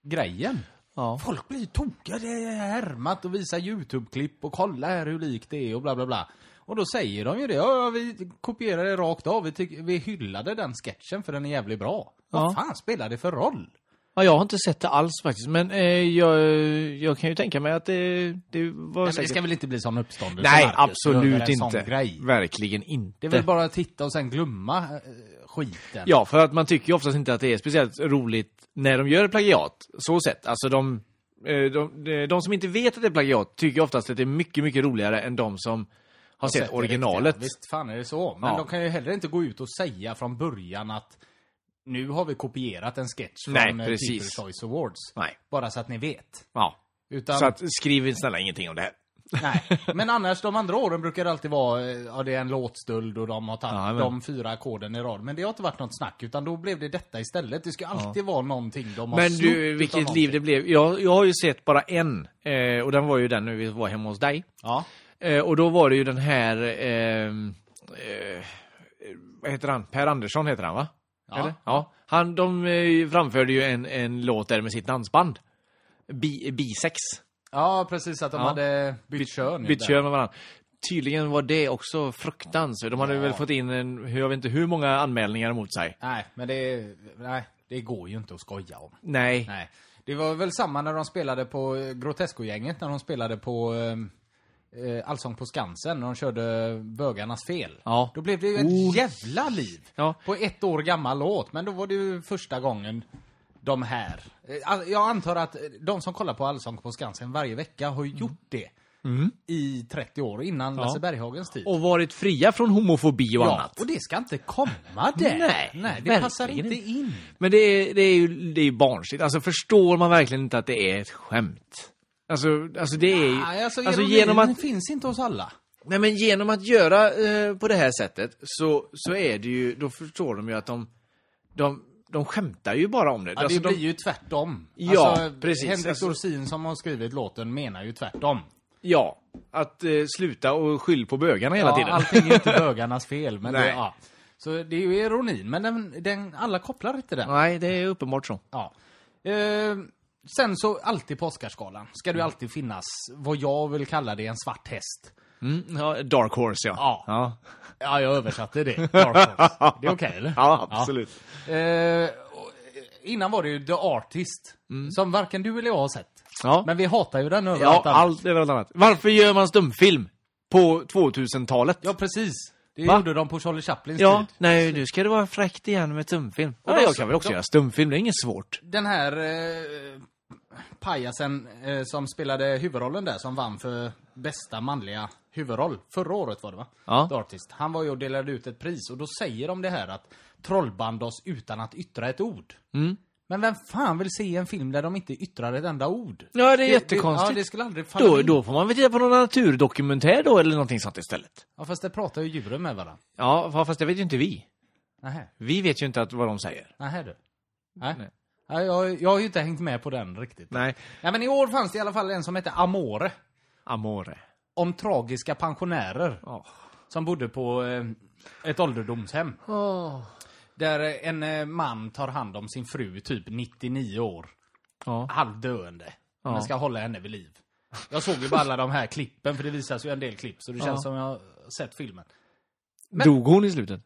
Speaker 3: grejen.
Speaker 2: Ja.
Speaker 3: Folk blir ju tokiga, det är härmat och visar YouTube-klipp och kolla här hur likt det är och bla bla bla. Och då säger de ju det, ja ja, vi kopierar det rakt av, vi, tyck- vi hyllade den sketchen för den är jävligt bra.
Speaker 2: Ja.
Speaker 3: Vad fan spelar det för roll?
Speaker 2: ja, jag har inte sett det alls faktiskt, men eh, jag, jag kan ju tänka mig att det, det var
Speaker 3: Nej, men det
Speaker 2: säkert...
Speaker 3: ska väl inte bli sån uppståndelse?
Speaker 2: Nej,
Speaker 3: Marcus, över
Speaker 2: absolut
Speaker 3: en sån
Speaker 2: inte.
Speaker 3: Grej.
Speaker 2: Verkligen inte.
Speaker 3: Det är väl bara att titta och sen glömma eh, skiten.
Speaker 2: Ja, för att man tycker ju oftast inte att det är speciellt roligt när de gör plagiat. Så sett. Alltså de, eh, de, de, de som inte vet att det är plagiat tycker ju oftast att det är mycket, mycket roligare än de som har sett,
Speaker 3: sett det
Speaker 2: originalet.
Speaker 3: riktiga. Visst fan är det så. Men
Speaker 2: Ja.
Speaker 3: de kan ju heller inte gå ut och säga från början att nu har vi kopierat en sketch från
Speaker 2: Nej,
Speaker 3: eh,
Speaker 2: precis.
Speaker 3: People's Choice Awards.
Speaker 2: Nej.
Speaker 3: Bara så att ni vet.
Speaker 2: Ja.
Speaker 3: Utan,
Speaker 2: Så att, skriv snälla ingenting om det här.
Speaker 3: nej. Men annars, de andra åren brukar det alltid vara, eh, ja det är en låtstöld och de har tagit
Speaker 2: Ja, men-
Speaker 3: de fyra ackorden i rad. Men det har inte varit något snack, utan då blev det detta istället. Det ska alltid vara någonting de har
Speaker 2: Men
Speaker 3: snott
Speaker 2: du,
Speaker 3: utav
Speaker 2: vilket
Speaker 3: någonting.
Speaker 2: liv det blev. Jag, jag har ju sett bara en, eh, och den var ju den när vi var hemma hos dig.
Speaker 3: Ja.
Speaker 2: Eh, och då var det ju den här, eh, eh, vad heter han? Per Andersson heter han va?
Speaker 3: Ja.
Speaker 2: Eller? ja. Han, de eh, framförde ju en, en låt där med sitt dansband. Bi, bisex.
Speaker 3: ja, precis att de
Speaker 2: Ja.
Speaker 3: hade bytt kön. ju
Speaker 2: Bytt
Speaker 3: där.
Speaker 2: kön med varandra. Tydligen var det också fruktansvärt. De hade
Speaker 3: Ja.
Speaker 2: väl fått in en, jag vet inte hur många anmälningar mot sig.
Speaker 3: Nej, men det, nej, det går ju inte att skoja om.
Speaker 2: Nej.
Speaker 3: Nej. Det var väl samma när de spelade på eh, Grotesco-gänget, när de spelade på eh, eh, Allsång på Skansen, när de körde Bögarnas fel.
Speaker 2: Ja. Oh.
Speaker 3: Då blev det ju ett jävla liv
Speaker 2: Ja.
Speaker 3: på ett år gammal låt, men då var det ju första gången de här. Eh, all- Jag antar att eh, de som kollar på Allsång på Skansen varje vecka har ju
Speaker 2: Mm.
Speaker 3: gjort det i 30 år, innan Lasse Berghagens tid.
Speaker 2: Och varit fria från homofobi och
Speaker 3: ja,
Speaker 2: annat.
Speaker 3: och det ska inte komma där!
Speaker 2: Nej,
Speaker 3: Nej det passar
Speaker 2: verkligen
Speaker 3: inte in.
Speaker 2: Men det är, det är ju det är ju barnsligt. Alltså förstår man verkligen inte att det är ett skämt? Alltså, alltså det är ju...
Speaker 3: Nej, alltså,
Speaker 2: alltså
Speaker 3: ironin
Speaker 2: genom att
Speaker 3: finns inte hos alla.
Speaker 2: Nej, men genom att göra eh, på det här sättet så, så är det ju, då förstår de ju att de, de, de skämtar ju bara om det.
Speaker 3: Ja,
Speaker 2: Alltså,
Speaker 3: det blir
Speaker 2: de,
Speaker 3: ju tvärtom.
Speaker 2: Ja,
Speaker 3: alltså,
Speaker 2: precis.
Speaker 3: Henrik
Speaker 2: Alltså-
Speaker 3: Dorsin som har skrivit låten menar ju tvärtom.
Speaker 2: ja att eh, sluta och skyll på bögarna hela
Speaker 3: Ja,
Speaker 2: tiden.
Speaker 3: allting är inte bögarnas fel. Men det,
Speaker 2: Nej.
Speaker 3: ja. Så det är ju ironin, men den, den, alla kopplar inte den.
Speaker 2: Nej, det är uppenbart så.
Speaker 3: Ja. Eh, sen så, alltid på Oscarsgalan ska det ju alltid finnas vad jag vill kalla det en svart häst.
Speaker 2: Mm, ja, dark horse, ja.
Speaker 3: Ja.
Speaker 2: ja.
Speaker 3: Ja, jag översatte det. Dark Horse. Det är okej, eller?
Speaker 2: Ja, absolut.
Speaker 3: Eh, och, eh, innan var det ju The Artist, som varken du eller jag har sett.
Speaker 2: Ja.
Speaker 3: Men vi hatar ju den
Speaker 2: Mm. Ja,
Speaker 3: överallt annars.
Speaker 2: allt är något annat. Varför gör man stumfilm på 2000-talet?
Speaker 3: Ja, precis. Det
Speaker 2: Va?
Speaker 3: gjorde de på Charlie Chaplins
Speaker 2: Ja,
Speaker 3: tid.
Speaker 2: nej, nu ska det vara fräckt igen med stumfilm. Ja,
Speaker 3: de-
Speaker 2: jag kan väl också
Speaker 3: de-
Speaker 2: göra stumfilm, det är inget svårt.
Speaker 3: Den här eh, pajasen eh, som spelade huvudrollen där, som vann för bästa manliga huvudroll. Förra året var det va?
Speaker 2: Ja.
Speaker 3: The Artist. Han var ju och delade ut ett pris och då säger de det här att trollband oss utan att yttra ett ord.
Speaker 2: Mm.
Speaker 3: Men vem fan vill se en film där de inte yttrar ett enda ord?
Speaker 2: Ja, det är
Speaker 3: Det, ja,
Speaker 2: jättekonstigt.
Speaker 3: det skulle aldrig falla
Speaker 2: Då,
Speaker 3: in.
Speaker 2: då får man väl titta på någon naturdokumentär då, eller någonting sånt istället.
Speaker 3: Ja, fast det pratar ju djuren med varandra.
Speaker 2: Ja, fa- fast det vet ju inte vi.
Speaker 3: Nähä,
Speaker 2: Vi vet ju inte att, vad de säger.
Speaker 3: nähä du. Nej.
Speaker 2: Nej.
Speaker 3: Ja, jag, jag har ju inte hängt med på den riktigt.
Speaker 2: Nej.
Speaker 3: Ja, men i år fanns det i alla fall en som hette Amore.
Speaker 2: Amore.
Speaker 3: Om tragiska pensionärer som bodde på eh, ett ålderdomshem. Där eh, en eh, man tar hand om sin fru, typ 99 år.
Speaker 2: Ja.
Speaker 3: Halvdöende. Men ska hålla henne vid liv. Jag såg ju bara alla de här klippen, för det visas ju en del klipp. Så det känns som jag har sett filmen.
Speaker 2: Dog hon i slutet?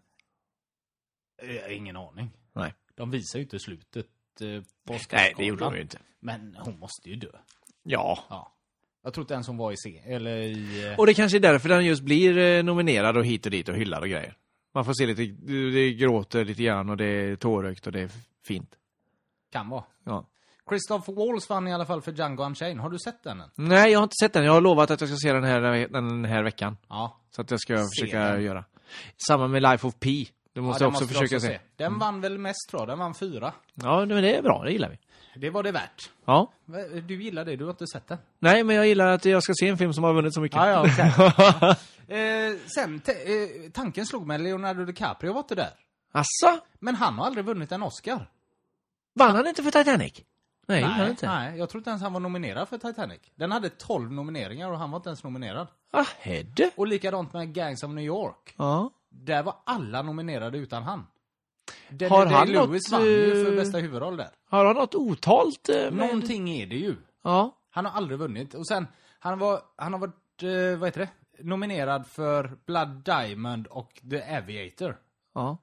Speaker 3: Eh, ingen aning.
Speaker 2: Nej.
Speaker 3: De visar ju inte slutet eh, på
Speaker 2: Nej, det gjorde hon ju inte.
Speaker 3: Men hon måste ju dö.
Speaker 2: Ja.
Speaker 3: Ja. Jag tror inte ens hon var i C, eller i... eh,
Speaker 2: Och det kanske är därför den just blir eh, nominerad och hit och dit och hyllad och grejer. Man får se lite, det gråter lite grann och det är tårögt och det är fint.
Speaker 3: Kan vara.
Speaker 2: Ja.
Speaker 3: Christoph Walls vann i alla fall för Django Unchained. Har du sett den än?
Speaker 2: Nej, jag har inte sett den. Jag har lovat att jag ska se den här, den här veckan.
Speaker 3: Ja.
Speaker 2: Så att jag ska försöka
Speaker 3: den.
Speaker 2: göra. Samma med Life of Pi. Det måste
Speaker 3: den
Speaker 2: jag också
Speaker 3: vi
Speaker 2: försöka
Speaker 3: också
Speaker 2: se. Mm.
Speaker 3: Den vann väl mest tror jag. Den vann fyra.
Speaker 2: Ja, men det är bra. Det gillar vi.
Speaker 3: Det var det värt.
Speaker 2: Ja.
Speaker 3: Du gillar det, du har inte sett den.
Speaker 2: Nej, men jag gillar att jag ska se en film som har vunnit så mycket.
Speaker 3: Ja, ja, Eh, sen, te- eh, tanken slog mig, Leonardo DiCaprio var inte där.
Speaker 2: Asså?
Speaker 3: Men han har aldrig vunnit en Oscar.
Speaker 2: Vann han inte för Titanic? Nej, han inte.
Speaker 3: nej, jag tror inte ens han var nominerad för Titanic. Den hade 12 nomineringar och han var inte ens nominerad.
Speaker 2: Ah, Hedde.
Speaker 3: Och likadant med Gangs of New York.
Speaker 2: Ja.
Speaker 3: Där var alla nominerade utan han. Daniel
Speaker 2: Har han
Speaker 3: Day-Lewis
Speaker 2: något,
Speaker 3: vann ju
Speaker 2: eh,
Speaker 3: för bästa huvudroll där.
Speaker 2: Har han något otalt? eh, med-
Speaker 3: Någonting är det ju.
Speaker 2: Ja.
Speaker 3: Han har aldrig vunnit. Och sen, han, var, han har varit, eh, vad heter det? Nominerad för Blood Diamond och The Aviator.
Speaker 2: ja.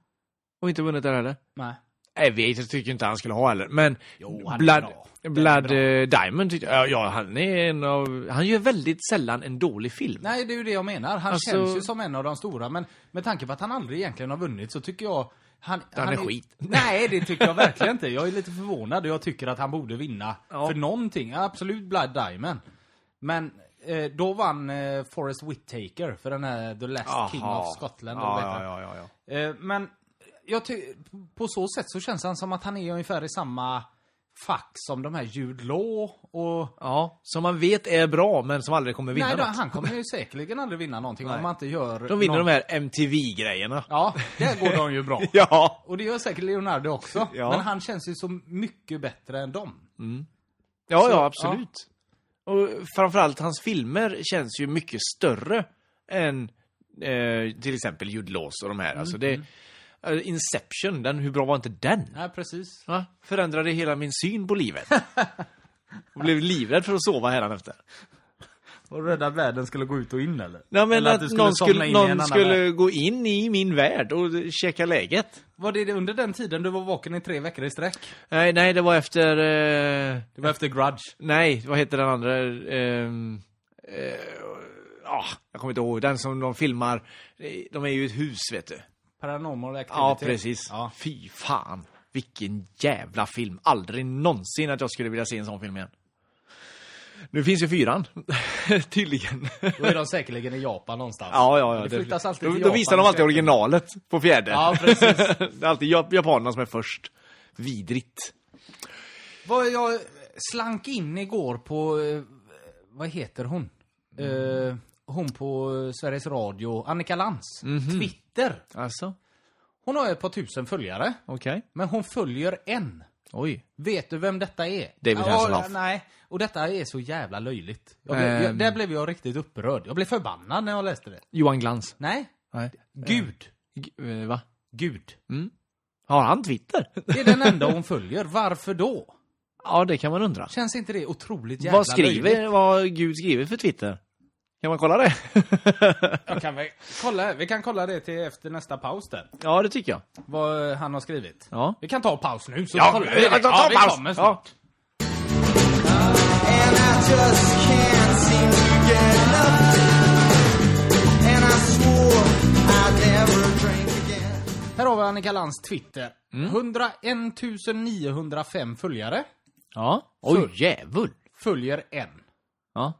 Speaker 2: Och inte vunnit där heller?
Speaker 3: Nej.
Speaker 2: Nej, vi tycker inte han skulle ha heller. Men
Speaker 3: Jo, han är
Speaker 2: Blood,
Speaker 3: bra. Den är
Speaker 2: Blood
Speaker 3: bra.
Speaker 2: eh, Diamond tyckte ja, ja, han är en av... Han gör väldigt sällan en dålig film.
Speaker 3: Nej, det är ju det jag menar. Han
Speaker 2: Alltså-
Speaker 3: känns ju som en av de stora, men med tanke på att han aldrig egentligen har vunnit så tycker jag... Han,
Speaker 2: är skit.
Speaker 3: Nej, det tycker jag verkligen inte. Jag är lite förvånad och jag tycker att han borde vinna
Speaker 2: Ja.
Speaker 3: för någonting. Ja, Absolut Blood Diamond. Men eh, då vann eh, Forrest Whitaker för den här The Last King
Speaker 2: Aha.
Speaker 3: of Scotland. eller vad
Speaker 2: Ja,
Speaker 3: heter
Speaker 2: ja,
Speaker 3: han?
Speaker 2: ja, ja, ja.
Speaker 3: Eh, men jag ty- på så sätt så känns han som att han är ungefär i samma fack som de här Jude Law och
Speaker 2: ja, som man vet är bra, men som aldrig kommer vinna
Speaker 3: Nej, då,
Speaker 2: något.
Speaker 3: han kommer ju säkerligen aldrig vinna någonting
Speaker 2: Nej.
Speaker 3: om man inte gör...
Speaker 2: De vinner
Speaker 3: någon...
Speaker 2: de här MTV-grejerna.
Speaker 3: Ja, där går de ju bra.
Speaker 2: Ja.
Speaker 3: Och det gör säkert Leonardo också.
Speaker 2: Ja.
Speaker 3: Men han känns ju så mycket bättre än dem.
Speaker 2: Ja,
Speaker 3: Så,
Speaker 2: ja, absolut. Och framförallt hans filmer känns ju mycket större än eh, till exempel Jude Laws och de här. Alltså det, eh, Inception, den, hur bra var inte den?
Speaker 3: Nej, precis.
Speaker 2: Va? Förändrade hela min syn på livet. Och blev livrädd för att sova hädanefter.
Speaker 3: Och rädda världen skulle gå ut och in eller?
Speaker 2: Nej men
Speaker 3: Eller
Speaker 2: att,
Speaker 3: du
Speaker 2: någon
Speaker 3: somna
Speaker 2: skulle,
Speaker 3: in i en
Speaker 2: någon
Speaker 3: annan värld.
Speaker 2: skulle gå in i min värld och checka läget.
Speaker 3: Var det under den tiden du var vaken i tre veckor i sträck?
Speaker 2: Nej, nej, det var efter... Eh,
Speaker 3: Det var efter Grudge.
Speaker 2: Nej, vad heter den andra? Ehm, eh, ah, jag kommer inte ihåg. Den som de filmar. De är ju i ett hus, vet du.
Speaker 3: Paranormal Activity.
Speaker 2: Ja, precis.
Speaker 3: Ja.
Speaker 2: Fy fan. Vilken jävla film. Aldrig någonsin att jag skulle vilja se en sån film igen. Nu finns ju fyran, tydligen.
Speaker 3: Då är de säkerligen i Japan någonstans.
Speaker 2: Ja, ja, ja.
Speaker 3: Det flyttas alltid till
Speaker 2: då, då
Speaker 3: Japan
Speaker 2: visar de
Speaker 3: och
Speaker 2: alltid
Speaker 3: köper.
Speaker 2: originalet på fjärde.
Speaker 3: Ja, precis.
Speaker 2: det är alltid jap- japanerna som är först. Vidrigt.
Speaker 3: Vad jag slank in igår på, eh, vad heter hon? Eh, hon på eh, Sveriges Radio, Annika Lantz.
Speaker 2: Mhm.
Speaker 3: Twitter.
Speaker 2: Alltså,
Speaker 3: Hon har ett par tusen följare,
Speaker 2: okej.
Speaker 3: men hon följer en.
Speaker 2: Oj.
Speaker 3: Vet du vem detta är?
Speaker 2: David
Speaker 3: Ja,
Speaker 2: Hasselhoff.
Speaker 3: Nej, och detta är så jävla löjligt. Jag blev, jag,
Speaker 2: Ehm.
Speaker 3: där blev jag riktigt upprörd. Jag blev förbannad när jag läste det.
Speaker 2: Johan Glans.
Speaker 3: Nej,
Speaker 2: Nej.
Speaker 3: Gud.
Speaker 2: G- eh, va?
Speaker 3: Gud.
Speaker 2: Har han Twitter?
Speaker 3: Det är den enda hon följer. Varför då?
Speaker 2: ja, det kan man undra.
Speaker 3: Känns inte det otroligt jävla
Speaker 2: Vad
Speaker 3: löjligt?
Speaker 2: skriver, vad Gud skriver för Twitter? Kan man kolla det?
Speaker 3: Jag kan väl kolla, vi kan kolla det till efter nästa paus där.
Speaker 2: ja, det tycker jag.
Speaker 3: Vad han har skrivit.
Speaker 2: Ja.
Speaker 3: Vi kan ta paus nu så
Speaker 2: Ja,
Speaker 3: kollar
Speaker 2: vi
Speaker 3: det.
Speaker 2: kan ta
Speaker 3: ja,
Speaker 2: paus.
Speaker 3: Vi kommer snart.
Speaker 4: And I just can't seem to get enough. And I swore I'd never drink again.
Speaker 3: Här har vi Annika Lantz Twitter.
Speaker 2: Mm.
Speaker 3: 101 905 följare.
Speaker 2: Ja.
Speaker 3: Full.
Speaker 2: Oj, djävul.
Speaker 3: Följer en.
Speaker 2: Ja.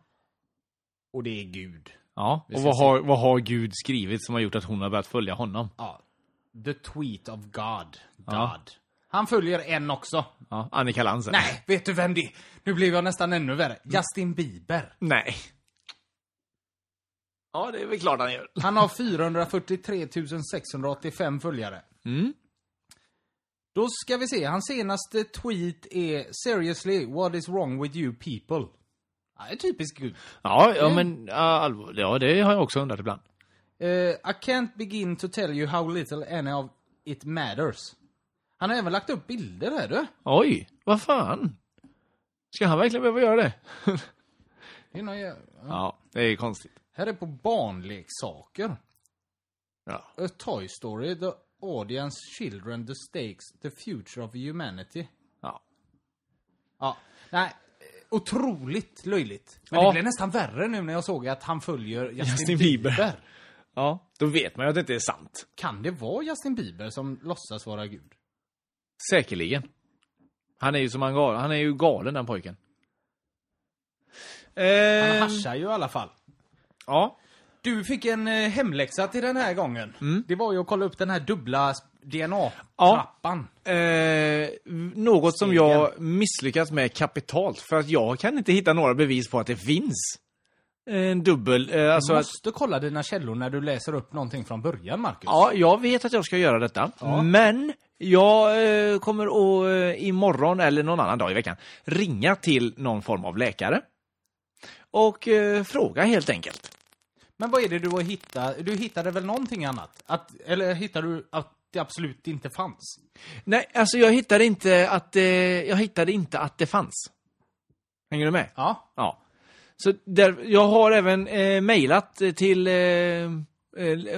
Speaker 3: Och det är Gud.
Speaker 2: ja. Och
Speaker 3: ska
Speaker 2: vad
Speaker 3: se.
Speaker 2: har, vad har Gud skrivit som har gjort att hon har börjat följa honom?
Speaker 3: Ja. The tweet of God. God.
Speaker 2: Ja.
Speaker 3: Han följer en också.
Speaker 2: Ja. Annika Lantz.
Speaker 3: Nej, vet du vem det är? Nu blev jag nästan ännu värre.
Speaker 2: Mm.
Speaker 3: Justin Bieber.
Speaker 2: Nej. Ja, det är väl klart han gör.
Speaker 3: Han har 443 685 följare.
Speaker 2: Mm.
Speaker 3: Då ska vi se, hans senaste tweet är “Seriously, what is wrong with you people?” ja, det är Typiskt gud.
Speaker 2: Ja,
Speaker 3: Mm.
Speaker 2: ja men ja, allvar, ja, det har jag också undrat ibland.
Speaker 3: Eh, “I can't begin to tell you how little any of it matters.” Han har även lagt upp bilder här du.
Speaker 2: Oj, vad fan? Ska han verkligen behöva göra det?
Speaker 3: Det är någon jä- ja.
Speaker 2: ja, det är konstigt.
Speaker 3: Här är på barnleksaker.
Speaker 2: Ja.
Speaker 3: A Toy Story, The Audience, Children, The Stakes, The Future of Humanity.
Speaker 2: ja.
Speaker 3: Ja, nej. Otroligt löjligt. Men
Speaker 2: Ja.
Speaker 3: det blev nästan värre nu när jag såg att han följer Justin,
Speaker 2: Justin
Speaker 3: Bieber.
Speaker 2: Bieber. Ja, då vet man ju att det inte är sant.
Speaker 3: Kan det vara Justin Bieber som låtsas vara gud?
Speaker 2: Säkerligen. Han är ju som han galen, han är ju galen den pojken.
Speaker 3: Han
Speaker 2: Eh,
Speaker 3: haschar ju i alla fall.
Speaker 2: ja.
Speaker 3: Du fick en eh, hemläxa till den här gången.
Speaker 2: Mm.
Speaker 3: Det var ju att kolla upp den här dubbla DNA-trappan.
Speaker 2: Eh, något som
Speaker 3: Stegen.
Speaker 2: jag misslyckats med kapitalt, för att jag kan inte hitta några bevis på att det finns en dubbel. Eh, alltså
Speaker 3: Du
Speaker 2: att,
Speaker 3: måste kolla dina källor när du läser upp någonting från början, Marcus.
Speaker 2: ja, jag vet att jag ska göra detta, men jag eh, kommer att eh, imorgon eller någon annan dag i veckan ringa till någon form av läkare och eh, fråga helt enkelt.
Speaker 3: Men vad är det du har hittat? Du hittade väl någonting annat? Att, eller hittade du att det absolut inte fanns?
Speaker 2: Nej, alltså jag hittade inte att, eh, jag hittade inte att det fanns. Hänger du med?
Speaker 3: Ja.
Speaker 2: Ja. Så där, jag har även eh, mejlat eh, till eh, eh,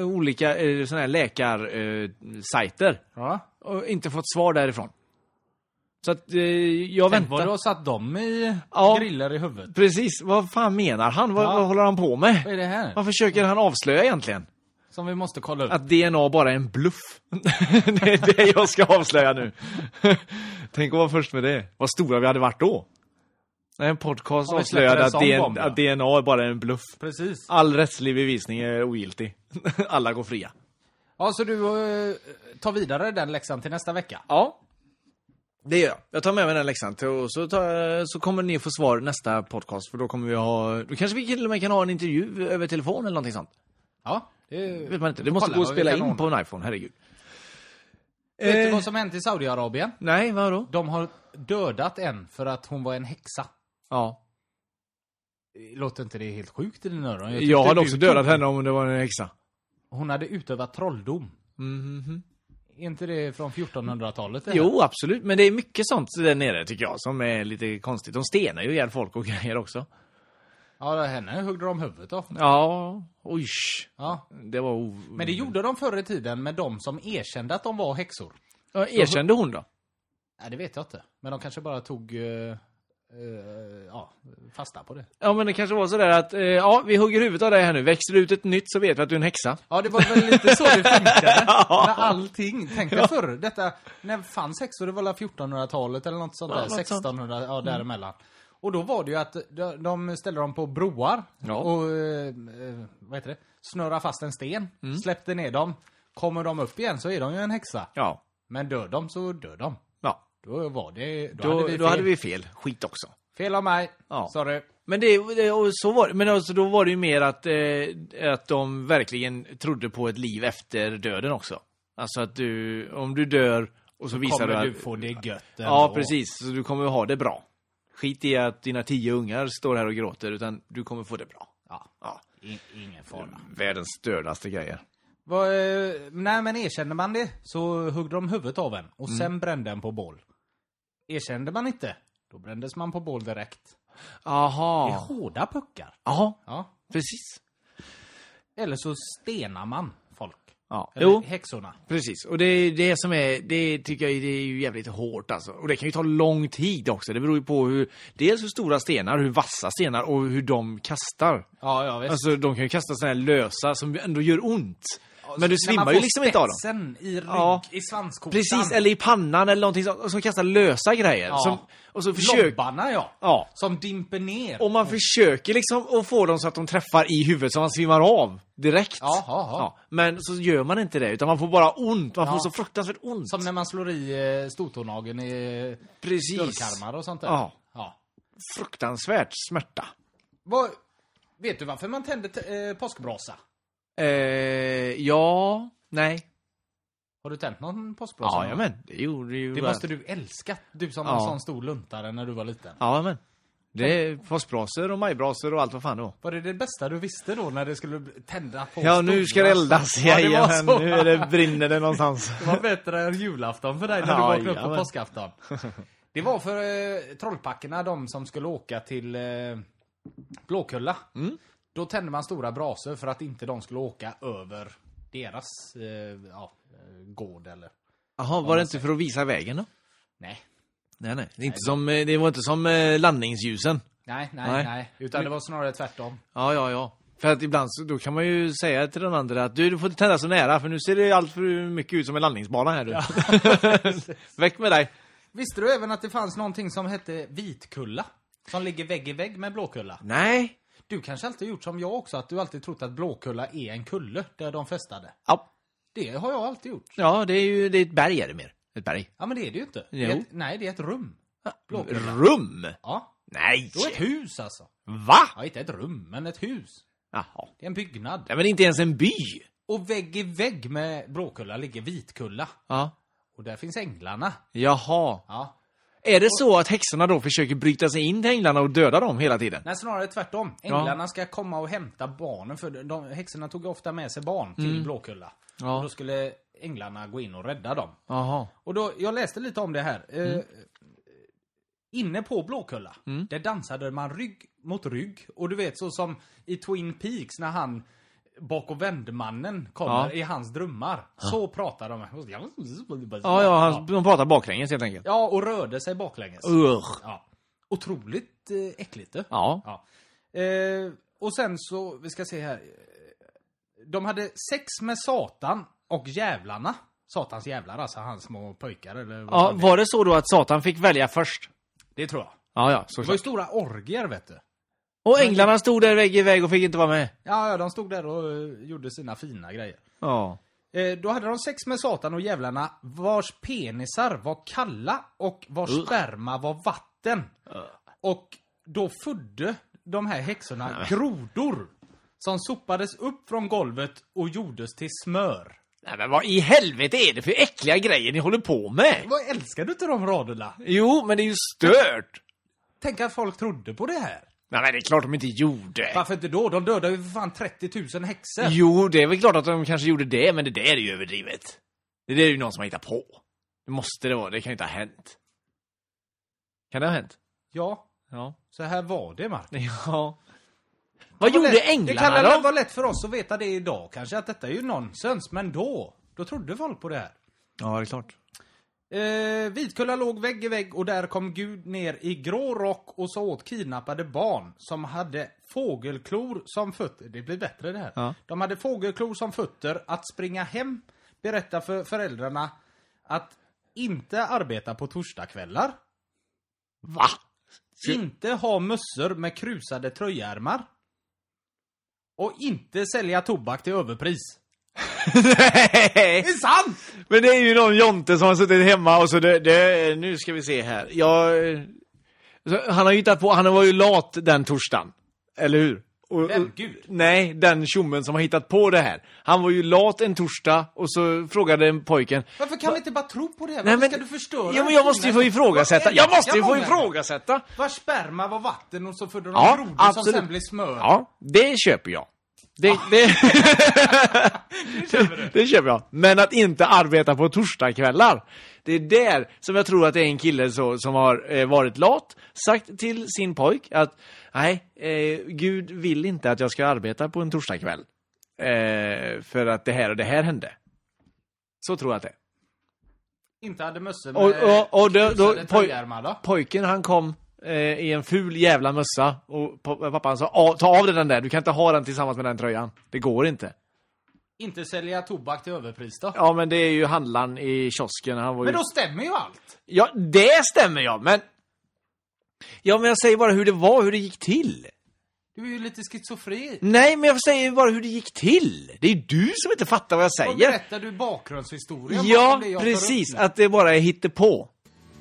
Speaker 2: olika eh, såna här läkarsajter eh, sajter
Speaker 3: ja.
Speaker 2: och inte fått svar därifrån. Så att eh, jag
Speaker 3: Tänk vad du
Speaker 2: väntar.
Speaker 3: har satt dem i
Speaker 2: Ja.
Speaker 3: griller i huvudet.
Speaker 2: Precis, vad fan menar han? Vad,
Speaker 3: Ja.
Speaker 2: vad håller han på med?
Speaker 3: Vad är det här?
Speaker 2: Vad försöker han avslöja egentligen?
Speaker 3: Som vi måste kolla upp.
Speaker 2: Att DNA bara är en bluff. det är det jag ska avslöja nu. Tänk att vara först med det. Vad stora vi hade varit då. När en podcast
Speaker 3: Om vi släpper
Speaker 2: avslöjade
Speaker 3: en
Speaker 2: att,
Speaker 3: sån bomb,
Speaker 2: DN-
Speaker 3: ja.
Speaker 2: att DNA är bara är en bluff.
Speaker 3: Precis.
Speaker 2: All rättslig bevisning är ogiltig. Alla går fria.
Speaker 3: Ja, så du eh, tar vidare den läxan till nästa vecka?
Speaker 2: Ja. Det gör jag. Jag tar med mig den läxan till- och så, tar, så kommer ni få svar nästa podcast för då kommer vi ha, då kanske vi till och med kan ha en intervju över telefon eller någonting sånt.
Speaker 3: Ja. Det,
Speaker 2: Det vet man inte. Det måste
Speaker 3: Kolla
Speaker 2: gå att
Speaker 3: vad vi
Speaker 2: spela
Speaker 3: kan
Speaker 2: in
Speaker 3: ordna.
Speaker 2: på en iPhone, herregud.
Speaker 3: Vet du
Speaker 2: Eh.
Speaker 3: vad som hänt i Saudiarabien?
Speaker 2: Nej, vadå?
Speaker 3: De har dödat en för att hon var en häxa.
Speaker 2: Ja.
Speaker 3: Låter inte det helt sjukt i dina öron?
Speaker 2: Jag,
Speaker 3: tyckte
Speaker 2: hade
Speaker 3: du
Speaker 2: också dödat
Speaker 3: trodde-
Speaker 2: henne om det var en häxa.
Speaker 3: Hon hade utövat trolldom. Är inte det från 1400-talet? det här?
Speaker 2: Mm-hmm. Jo, absolut. Men det är mycket sånt där nere tycker jag som är lite konstigt. De stenar ju ihjäl folk och grejer också.
Speaker 3: Ja, henne huggde de huvudet av.
Speaker 2: Ja, oj.
Speaker 3: Ja.
Speaker 2: Det var o-
Speaker 3: Men det gjorde de förr i tiden med de som erkände att de var häxor.
Speaker 2: Ja, Erkände hon då?
Speaker 3: Nej, det vet jag inte. Men de kanske bara tog eh, eh, ja, fasta på det.
Speaker 2: Ja men det kanske var sådär att, eh, ja vi hugger huvudet av dig här nu, växer det ut ett nytt så vet vi att du är en häxa.
Speaker 3: Ja, det var väl lite så det funkade. Med allting. Tänk dig förr. Detta, när fanns häxor? Det var väl 1400-talet eller något sånt där.
Speaker 2: något sånt. Mm.
Speaker 3: 1600, ja däremellan. Och då var det ju att de- de ställde dem på broar
Speaker 2: Ja.
Speaker 3: och eh, eh, vad heter det? snurra fast en sten,
Speaker 2: Mm.
Speaker 3: släppte ner dem. Kommer de upp igen så är de ju en häxa.
Speaker 2: Ja.
Speaker 3: Men dör de så dör de.
Speaker 2: ja.
Speaker 3: Då var det... Då,
Speaker 2: Då,
Speaker 3: hade, vi
Speaker 2: då
Speaker 3: fel.
Speaker 2: hade vi fel. Skit också.
Speaker 3: fel av mig.
Speaker 2: Ja.
Speaker 3: Sorry.
Speaker 2: Men, det, det- och så var, det- men alltså, då var det ju mer att, eh, att de verkligen trodde på ett liv efter döden också. Alltså att du, om du dör och så visar du
Speaker 3: Kommer
Speaker 2: att...
Speaker 3: du få det gött
Speaker 2: ja
Speaker 3: ändå.
Speaker 2: precis, så du kommer ha det bra. Skit i att dina tio ungar står här och gråter, utan du kommer få det bra.
Speaker 3: Ja.
Speaker 2: Ja.
Speaker 3: In, ingen fara.
Speaker 2: Världens stördaste grejer.
Speaker 3: Vad, eh, nej men erkände man det så högg de huvudet av en och sen
Speaker 2: Mm.
Speaker 3: brände en på bål. Erkände man inte, då brändes man på bål direkt. Det är
Speaker 2: Aha.
Speaker 3: hårda puckar.
Speaker 2: Ja,
Speaker 3: Ja.
Speaker 2: precis.
Speaker 3: Eller så stenar man folk.
Speaker 2: Ja.
Speaker 3: Eller
Speaker 2: Jo.
Speaker 3: häxorna.
Speaker 2: Precis, och det är det som är, det tycker jag det är ju jävligt hårt alltså. Och det kan ju ta lång tid också, det beror ju på hur, dels hur stora stenar, hur vassa stenar och hur de kastar.
Speaker 3: Ja, ja visst.
Speaker 2: Alltså de kan ju kasta sådana här lösa som ändå gör ont. Men du
Speaker 3: När man
Speaker 2: svimmar ju
Speaker 3: får
Speaker 2: liksom inte av dem.
Speaker 3: spetsen i rygg,
Speaker 2: Ja.
Speaker 3: i svanskotan.
Speaker 2: Precis, eller i pannan eller någonting sånt, som kastar lösa grejer.
Speaker 3: Ja.
Speaker 2: Som, och så försöker...
Speaker 3: Lobbarna ja.
Speaker 2: Ja.
Speaker 3: Som dimper ner.
Speaker 2: Och man försöker liksom att få dem så att de träffar i huvudet så man svimmar av direkt.
Speaker 3: Ja, ja, ja.
Speaker 2: Men så gör man inte det, utan man får bara ont. Man får
Speaker 3: Ja.
Speaker 2: så fruktansvärt ont.
Speaker 3: Som när man slår i eh, stortånageln i
Speaker 2: Precis.
Speaker 3: dörrkarmar och sånt där.
Speaker 2: Ja.
Speaker 3: ja.
Speaker 2: Fruktansvärt smärta.
Speaker 3: Vad, vet du varför man tände t- eh, påskbrasa?
Speaker 2: Eh, ja, nej.
Speaker 3: Har du tänt någon påskbrasa? någon
Speaker 2: Ja,
Speaker 3: gång?
Speaker 2: ja men det gjorde ju...
Speaker 3: Det måste du älska, du som var en
Speaker 2: Ja.
Speaker 3: sån stor luntare när du var liten.
Speaker 2: Ja, men Det är påskbrasor och majbrasor och allt vad fan det var.
Speaker 3: Var det det bästa du visste då när det skulle bli- tända på
Speaker 2: Ja, nu ska det
Speaker 3: storbrasa?
Speaker 2: eldas.
Speaker 3: Ja, det var
Speaker 2: Jajamän,
Speaker 3: så.
Speaker 2: nu är det, brinner det någonstans.
Speaker 3: Det var bättre än julafton för dig när du
Speaker 2: Ja,
Speaker 3: vaknade upp på
Speaker 2: jajamän.
Speaker 3: påskafton. Det var för eh, trollpackerna, de som skulle åka till eh, Blåkulla.
Speaker 2: Mm.
Speaker 3: Då tände man stora brasor för att inte de skulle åka över deras eh, ja, eh, gård eller...
Speaker 2: Jaha, var det inte för att visa vägen då?
Speaker 3: Nej.
Speaker 2: Nej, nej. Det, är inte som, eh, det var inte som eh, landningsljusen.
Speaker 3: Nej, nej, nej.
Speaker 2: Nej.
Speaker 3: Utan det var snarare tvärtom.
Speaker 2: Ja, ja, ja. För att ibland så, då kan man ju säga till den andra att du, du får inte tända så nära för nu ser det allt för mycket ut som en landningsbana här du. Väck med dig.
Speaker 3: Visste du även att det fanns någonting som hette Vitkulla? Som ligger vägg i vägg med Blåkulla?
Speaker 2: Nej.
Speaker 3: Du kanske alltid har gjort som jag också, att du alltid trott att Blåkulla är en kulle där de festade.
Speaker 2: Ja.
Speaker 3: Det har jag alltid gjort.
Speaker 2: ja, det är ju det är ett berg är det mer. Ett berg.
Speaker 3: Ja, men det är det ju inte. Det är
Speaker 2: Jo.
Speaker 3: ett, nej, det är ett rum. Blåkulla.
Speaker 2: Rum?
Speaker 3: Ja,
Speaker 2: Nej!
Speaker 3: då är ett hus alltså.
Speaker 2: Va?
Speaker 3: Ja, inte ett rum, men ett hus.
Speaker 2: Jaha.
Speaker 3: Det är en byggnad.
Speaker 2: Nej, men inte ens en by.
Speaker 3: Och vägg i vägg med Blåkulla ligger Vitkulla.
Speaker 2: Ja.
Speaker 3: Och där finns änglarna.
Speaker 2: Jaha.
Speaker 3: Ja.
Speaker 2: Är det så att häxorna då försöker bryta sig in till änglarna och döda dem hela tiden?
Speaker 3: Nej, snarare tvärtom. Änglarna ska komma och hämta barnen, för de, häxorna tog ofta med sig barn till Blåkulla.
Speaker 2: Mm. Ja.
Speaker 3: Och då skulle änglarna gå in och rädda dem.
Speaker 2: Jaha.
Speaker 3: Och då, jag läste lite om det här. Eh,
Speaker 2: Mm.
Speaker 3: Inne på Blåkulla, där dansade man rygg mot rygg. Och du vet, så som i Twin Peaks när han bakom vändmannen kommer
Speaker 2: Ja.
Speaker 3: i hans drömmar. Så pratar de.
Speaker 2: Ja, ja, han, de pratar baklänges helt enkelt.
Speaker 3: Ja, och rörde sig baklänges.
Speaker 2: Urgh.
Speaker 3: Ja. Otroligt eh, äckligt du.
Speaker 2: Ja.
Speaker 3: Ja. Eh, och sen så, vi ska se här. De hade sex med Satan och djävlarna. Satans jävlar, alltså hans små pojkar eller vad
Speaker 2: ja.
Speaker 3: det
Speaker 2: Var det så då att Satan fick välja först?
Speaker 3: Det tror jag.
Speaker 2: Ja, ja,
Speaker 3: Det var ju
Speaker 2: såklart.
Speaker 3: stora orgier vet du.
Speaker 2: Och änglarna stod där vägg i vägg och fick inte vara med.
Speaker 3: Ja, ja, de stod där och eh, gjorde sina fina grejer.
Speaker 2: Ja.
Speaker 3: Eh, då hade de sex med Satan och djävlarna vars penisar var kalla och vars sperma var vatten. Och då födde de här häxorna grodor som sopades upp från golvet och gjordes till smör.
Speaker 2: Nej, men vad i helvete är det för äckliga grejer ni håller på med?
Speaker 3: Vad älskar du till de raderna?
Speaker 2: Jo, men det är ju stört!
Speaker 3: Tänk att folk trodde på det här.
Speaker 2: Nej, men det är klart de inte gjorde.
Speaker 3: Varför inte då? De dödade ju för fan 30 000 häxor.
Speaker 2: Jo, det är väl klart att de kanske gjorde det, men det där är ju överdrivet. Det där är ju någon som har hittat på. Det måste det vara, det kan ju inte ha hänt. Kan det ha hänt?
Speaker 3: Ja,
Speaker 2: Ja.
Speaker 3: så här var det Mark.
Speaker 2: Ja. Vad
Speaker 3: var
Speaker 2: gjorde
Speaker 3: lätt- Det
Speaker 2: änglarna
Speaker 3: kan väl
Speaker 2: då?
Speaker 3: vara lätt för oss att veta det idag kanske, att detta är ju nonsens. Men då, då trodde folk på det här.
Speaker 2: Ja, det är klart.
Speaker 3: Eh, Vitkulla låg vägg i vägg och där kom Gud ner i grå rock och så åt kidnappade barn som hade fågelklor som fötter. Det blir bättre det här.
Speaker 2: Ja.
Speaker 3: De hade fågelklor som fötter att springa hem, berätta för föräldrarna att inte arbeta på torsdagskvällar,
Speaker 2: Va?
Speaker 3: inte ha mössor med krusade tröjärmar och inte sälja tobak till överpris.
Speaker 2: Nej!
Speaker 3: Det är sant!
Speaker 2: Men det är ju någon jonte som har suttit hemma och så det, det nu ska vi se här. Jag, eh, så han har ju hittat på, han var ju lat den torsdagen. Eller hur? Och,
Speaker 3: Vem?
Speaker 2: och-
Speaker 3: Gud?
Speaker 2: Nej, den tjommen som har hittat på det här. Han var ju lat en torsdag och så frågade en pojken.
Speaker 3: Varför kan vi inte bara tro på det? Varför
Speaker 2: Nej,
Speaker 3: ska du förstöra?
Speaker 2: Ja, men jag måste ju få ifrågasätta. Jag måste ju få
Speaker 3: många.
Speaker 2: ifrågasätta.
Speaker 3: Vars sperma var vatten och så födde de
Speaker 2: Ja,
Speaker 3: grodor som
Speaker 2: absolut.
Speaker 3: sen blev smör.
Speaker 2: Ja, det köper jag. Det, det, det, köper jag. Men att inte arbeta på torsdagskvällar. Det är där som jag tror att det är en kille så, som har eh, varit lat, sagt till sin pojk att nej, eh, Gud vill inte att jag ska arbeta på en torsdagskväll. Eh, för att det här och det här hände. Så tror jag att det är.
Speaker 3: Inte hade mössor med
Speaker 2: Och, och, och då, då,
Speaker 3: krusade
Speaker 2: poj,
Speaker 3: tröjärmar då?
Speaker 2: pojken han kom eh, i en ful jävla mössa och pa- pappan sa "Ah, ta av dig den där, du kan inte ha den tillsammans med den tröjan. Det går inte.
Speaker 3: Inte sälja tobak till överpris då?
Speaker 2: Ja men det är ju handlaren i kiosken, han var ju...
Speaker 3: Men då stämmer ju allt!
Speaker 2: Ja det stämmer ja, men... Ja men jag säger bara hur det var, hur det gick till.
Speaker 3: Du är ju lite schizofren.
Speaker 2: Nej men jag säger bara hur det gick till. Det är ju du som inte fattar vad jag
Speaker 3: Och
Speaker 2: säger.
Speaker 3: berättar du bakgrundshistorien
Speaker 2: Ja
Speaker 3: bakom det jag tar upp
Speaker 2: precis,
Speaker 3: nu?
Speaker 2: att det bara är hittepå.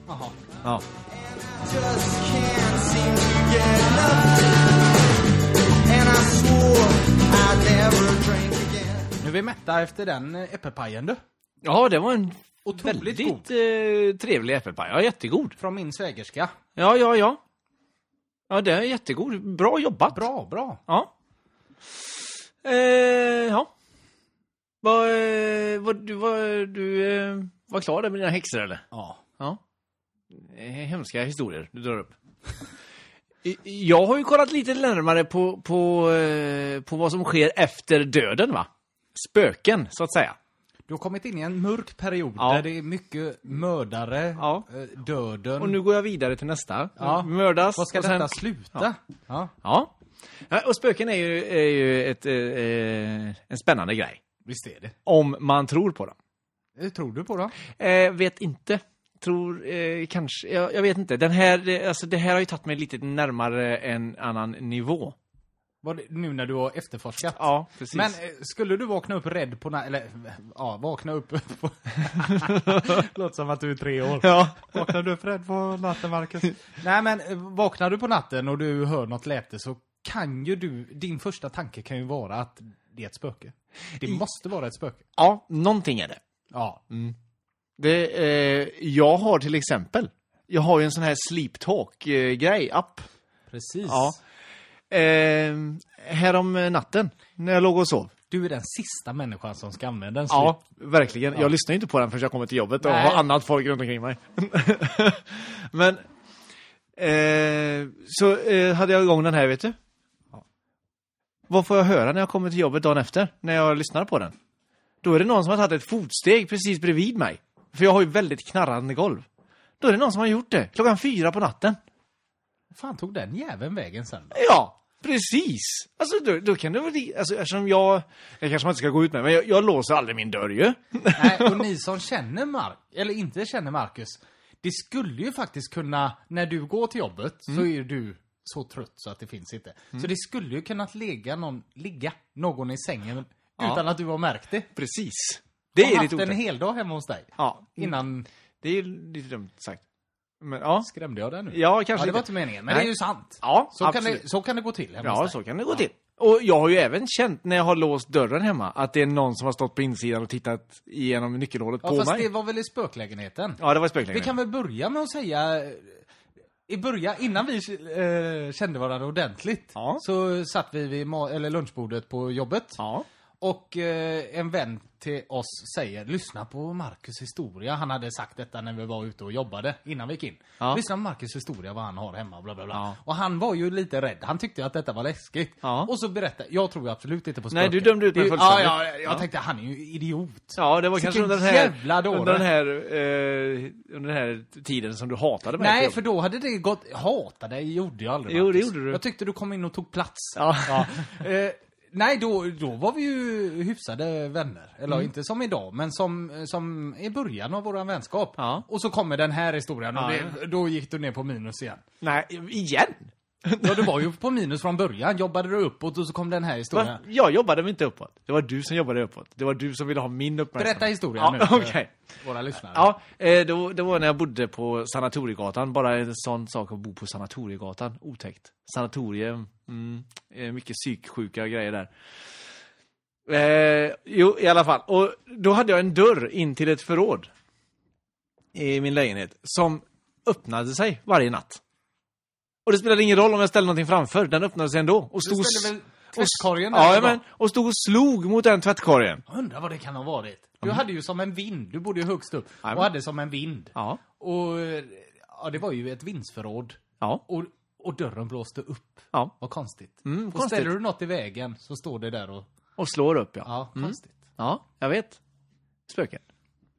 Speaker 3: Jaha.
Speaker 2: Ja.
Speaker 4: Just can't seem to get enough. And I swore I'd never drink again.
Speaker 3: Nu är vi mätta efter den eh, äppelpajen du.
Speaker 2: Ja det var en
Speaker 3: Otroligt
Speaker 2: väldigt eh, trevlig äppelpaj, ja jättegod.
Speaker 3: Från min svägerska.
Speaker 2: Ja, ja, ja. Ja, det är jättegod. Bra jobbat.
Speaker 3: Bra, bra.
Speaker 2: Ja. Eh, ja. Var, eh, var, du, var, du eh, var klar där med dina häxor, eller?
Speaker 3: Ja.
Speaker 2: Ja. Eh, Hemska historier du drar upp. I- Jag har ju kollat lite närmare på, på, eh, på vad som sker efter döden, va? Spöken, så att säga.
Speaker 3: Du har kommit in i en mörk period
Speaker 2: Ja.
Speaker 3: där det är mycket mördare,
Speaker 2: Ja.
Speaker 3: eh, döden.
Speaker 2: Och nu går jag vidare till nästa.
Speaker 3: Ja.
Speaker 2: Mördas.
Speaker 3: Vad ska
Speaker 2: och sen-
Speaker 3: detta sluta? Ja.
Speaker 2: Ja. Ja, Och spöken är ju, är ju ett, eh, eh, en spännande grej.
Speaker 3: Visst är det.
Speaker 2: Om man tror på dem.
Speaker 3: Eh, Tror du på det?
Speaker 2: Eh, vet inte. Tror eh, kanske. Jag, jag vet inte. Den här, eh, alltså, det här har ju tagit mig lite närmare en annan nivå.
Speaker 3: Vad det- Nu när du har efterforskat.
Speaker 2: Ja, precis.
Speaker 3: Men eh, skulle du vakna upp rädd på na- eller eh, ja, vakna upp på... Låter som att du är tre år.
Speaker 2: ja.
Speaker 3: Vaknar du upp rädd på natten, Marcus? Nej, men eh, vaknar du på natten och du hör något läte så kan ju du, din första tanke kan ju vara att det är ett spöke. Det måste vara ett spöke.
Speaker 2: ja, någonting är det.
Speaker 3: Ja.
Speaker 2: Mm. det eh, jag har till exempel, jag har ju en sån här sleep eh, talk-grej, app.
Speaker 3: Precis.
Speaker 2: Ja. Eh, härom natten, när jag låg och sov.
Speaker 3: Du är den sista människan som ska använda en
Speaker 2: Ja, verkligen. Jag lyssnar ju inte på den förrän jag kommer till jobbet och
Speaker 3: Nej.
Speaker 2: har annat folk runt omkring mig. Men eh, så eh, hade jag igång den här, vet du. Vad får jag höra när jag kommer till jobbet dagen efter, när jag lyssnar på den? Då är det någon som har tagit ett fotsteg precis bredvid mig. För jag har ju väldigt knarrande golv. Då är det någon som har gjort det, klockan fyra på natten.
Speaker 3: fan tog den jäveln vägen sen?
Speaker 2: Ja, precis. Alltså, då, då kan det väl... Alltså, eftersom jag... Jag kanske man inte ska gå ut med, men jag, jag låser aldrig min dörr ju.
Speaker 3: Nej, och ni som känner Mark, eller inte känner Marcus, det skulle ju faktiskt kunna, när du går till jobbet så är
Speaker 2: Mm.
Speaker 3: ju du så trött så att det finns inte. Så det skulle ju kunnat ligga någon, ligga någon i sängen utan att du har märkt det.
Speaker 2: Precis. Det
Speaker 3: har
Speaker 2: är
Speaker 3: haft
Speaker 2: lite
Speaker 3: en
Speaker 2: otäckt.
Speaker 3: hel dag hemma hos dig.
Speaker 2: Ja,
Speaker 3: Innan
Speaker 2: det är lite dumt sagt. Men ja,
Speaker 3: skrämde jag dig nu.
Speaker 2: Ja, kanske
Speaker 3: ja, det
Speaker 2: lite.
Speaker 3: var inte meningen, men
Speaker 2: Nej.
Speaker 3: det är ju sant.
Speaker 2: Ja,
Speaker 3: så, kan
Speaker 2: absolut.
Speaker 3: det, så kan det gå till hemma
Speaker 2: ja
Speaker 3: hos
Speaker 2: så
Speaker 3: dig.
Speaker 2: kan det gå till. Och jag har ju även känt när jag har låst dörren hemma att det är någon som har stått på insidan och tittat genom nyckelhålet
Speaker 3: Ja,
Speaker 2: på
Speaker 3: fast
Speaker 2: mig.
Speaker 3: det var väl i spöklägenheten?
Speaker 2: Ja, det var
Speaker 3: Vi
Speaker 2: spöklägenheten.
Speaker 3: kan väl börja med att säga... eh, I början, innan vi eh, kände varandra ordentligt,
Speaker 2: Ja.
Speaker 3: så satt vi vid ma- eller lunchbordet på jobbet.
Speaker 2: Ja.
Speaker 3: Och eh, en vän till oss säger, lyssna på Marcus historia. Han hade sagt detta när vi var ute och jobbade, innan vi gick in.
Speaker 2: Ja.
Speaker 3: Lyssna på Marcus historia, vad han har hemma, bla bla bla.
Speaker 2: Ja.
Speaker 3: Och han var ju lite rädd, han tyckte att detta var läskigt.
Speaker 2: Ja.
Speaker 3: Och så berättade, jag tror ju absolut inte på
Speaker 2: Nej,
Speaker 3: spöken.
Speaker 2: du dömde ut mig
Speaker 3: Det- ja,
Speaker 2: fullständigt.
Speaker 3: ja, jag
Speaker 2: Ja.
Speaker 3: tänkte han är ju idiot.
Speaker 2: Ja, det var
Speaker 3: Vilken
Speaker 2: kanske under den här,
Speaker 3: jävla dåre.
Speaker 2: under den här, eh, under den här tiden som du hatade mig.
Speaker 3: Nej, för då hade det gått... Hata dig gjorde jag aldrig.
Speaker 2: Jo, det
Speaker 3: Marcus.
Speaker 2: gjorde du.
Speaker 3: Jag tyckte du kom in och tog plats.
Speaker 2: Ja.
Speaker 3: Eh, nej, då, då var vi ju hyfsade vänner. Eller
Speaker 2: Mm.
Speaker 3: inte som idag, men som, som i början av vår vänskap.
Speaker 2: Ja.
Speaker 3: Och så kommer den här historien och
Speaker 2: Ja.
Speaker 3: det, då gick du ner på minus igen.
Speaker 2: Nej, igen?
Speaker 3: Ja, du var ju på minus från början. Jobbade du uppåt och så kom den här
Speaker 2: Va?
Speaker 3: historien.
Speaker 2: Jag jobbade väl inte uppåt? Det var du som jobbade uppåt. Det var du som ville ha min uppmärksamhet.
Speaker 3: Berätta historien
Speaker 2: ja,
Speaker 3: nu för
Speaker 2: okej.
Speaker 3: våra lyssnare.
Speaker 2: Ja, eh, det var, det var när jag bodde på Sanatoriegatan. Bara en sån sak att bo på Sanatoriegatan. Otäckt. Sanatorium. Mm, eh, mycket psyksjuka grejer där. Eh, jo, i alla fall. Och då hade jag en dörr in till ett förråd i min lägenhet som öppnade sig varje natt. Och det spelade ingen roll om jag ställde någonting framför, den öppnade sig ändå. Och
Speaker 3: Du
Speaker 2: stod,
Speaker 3: ställde väl
Speaker 2: och,
Speaker 3: tvättkorgen där?
Speaker 2: ja,
Speaker 3: då?
Speaker 2: men, och stod och slog mot den tvättkorgen.
Speaker 3: Undrar vad det kan ha varit.
Speaker 2: Mm.
Speaker 3: Du hade ju som en vind, du bodde ju högst upp, och
Speaker 2: Jajamän.
Speaker 3: hade som en vind.
Speaker 2: Ja.
Speaker 3: Och eh, ja, det var ju ett vindsförråd.
Speaker 2: Ja.
Speaker 3: Och, och dörren blåste upp.
Speaker 2: Ja.
Speaker 3: Vad konstigt.
Speaker 2: Mm,
Speaker 3: och
Speaker 2: konstigt.
Speaker 3: ställer du något i vägen så står det där och...
Speaker 2: Och slår upp, ja. Mm.
Speaker 3: Ja, konstigt.
Speaker 2: Ja, jag vet. Spöken.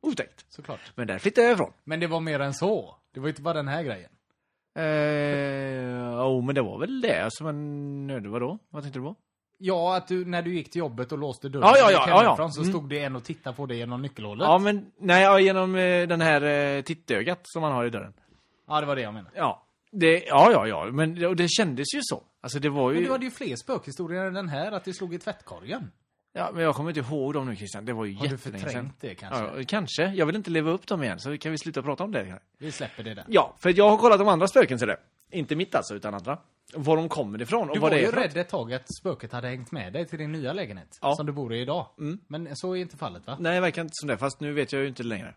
Speaker 2: Otäckt.
Speaker 3: Såklart.
Speaker 2: Men där flyttade jag ifrån.
Speaker 3: Men det var mer än så. Det var ju inte bara den här grejen.
Speaker 2: Eh, oh, men det var väl det som en nöd. Vadå? Vad tänkte du på?
Speaker 3: Ja, att du, när du gick till jobbet och låste dörren
Speaker 2: Ja, ja,
Speaker 3: och
Speaker 2: ja,
Speaker 3: gick
Speaker 2: ja, ja.
Speaker 3: hemifrån så
Speaker 2: Mm.
Speaker 3: stod det en och tittade på dig genom nyckelhålet.
Speaker 2: Ja,
Speaker 3: Ja.
Speaker 2: men nej, ja, genom eh, den här eh, tittögat som man har i dörren.
Speaker 3: det var det jag menade.
Speaker 2: Ja, det, ja, ja, ja. Men det, och det kändes ju så. Alltså det var ju...
Speaker 3: Men du hade ju fler spökhistorier än den här, att du slog i tvättkorgen.
Speaker 2: Ja, men jag kommer inte ihåg dem nu Christian. Det var ju
Speaker 3: Har du
Speaker 2: jättelänge sedan.
Speaker 3: förträngt det kanske?
Speaker 2: Ja, ja, kanske. Jag vill inte leva upp dem igen, så kan vi sluta prata om det?
Speaker 3: Vi släpper det där.
Speaker 2: Ja, för jag har kollat de andra spöken, ser det. Inte mitt alltså, utan andra. Var de kommer ifrån och
Speaker 3: Du
Speaker 2: vad
Speaker 3: var
Speaker 2: det är
Speaker 3: ju
Speaker 2: för något.
Speaker 3: rädd ett tag att spöket hade hängt med dig till din nya lägenhet,
Speaker 2: Ja. Mm.
Speaker 3: som du bor i idag. Men så är inte fallet va?
Speaker 2: Nej, det verkar inte som det. Fast nu vet jag ju inte längre.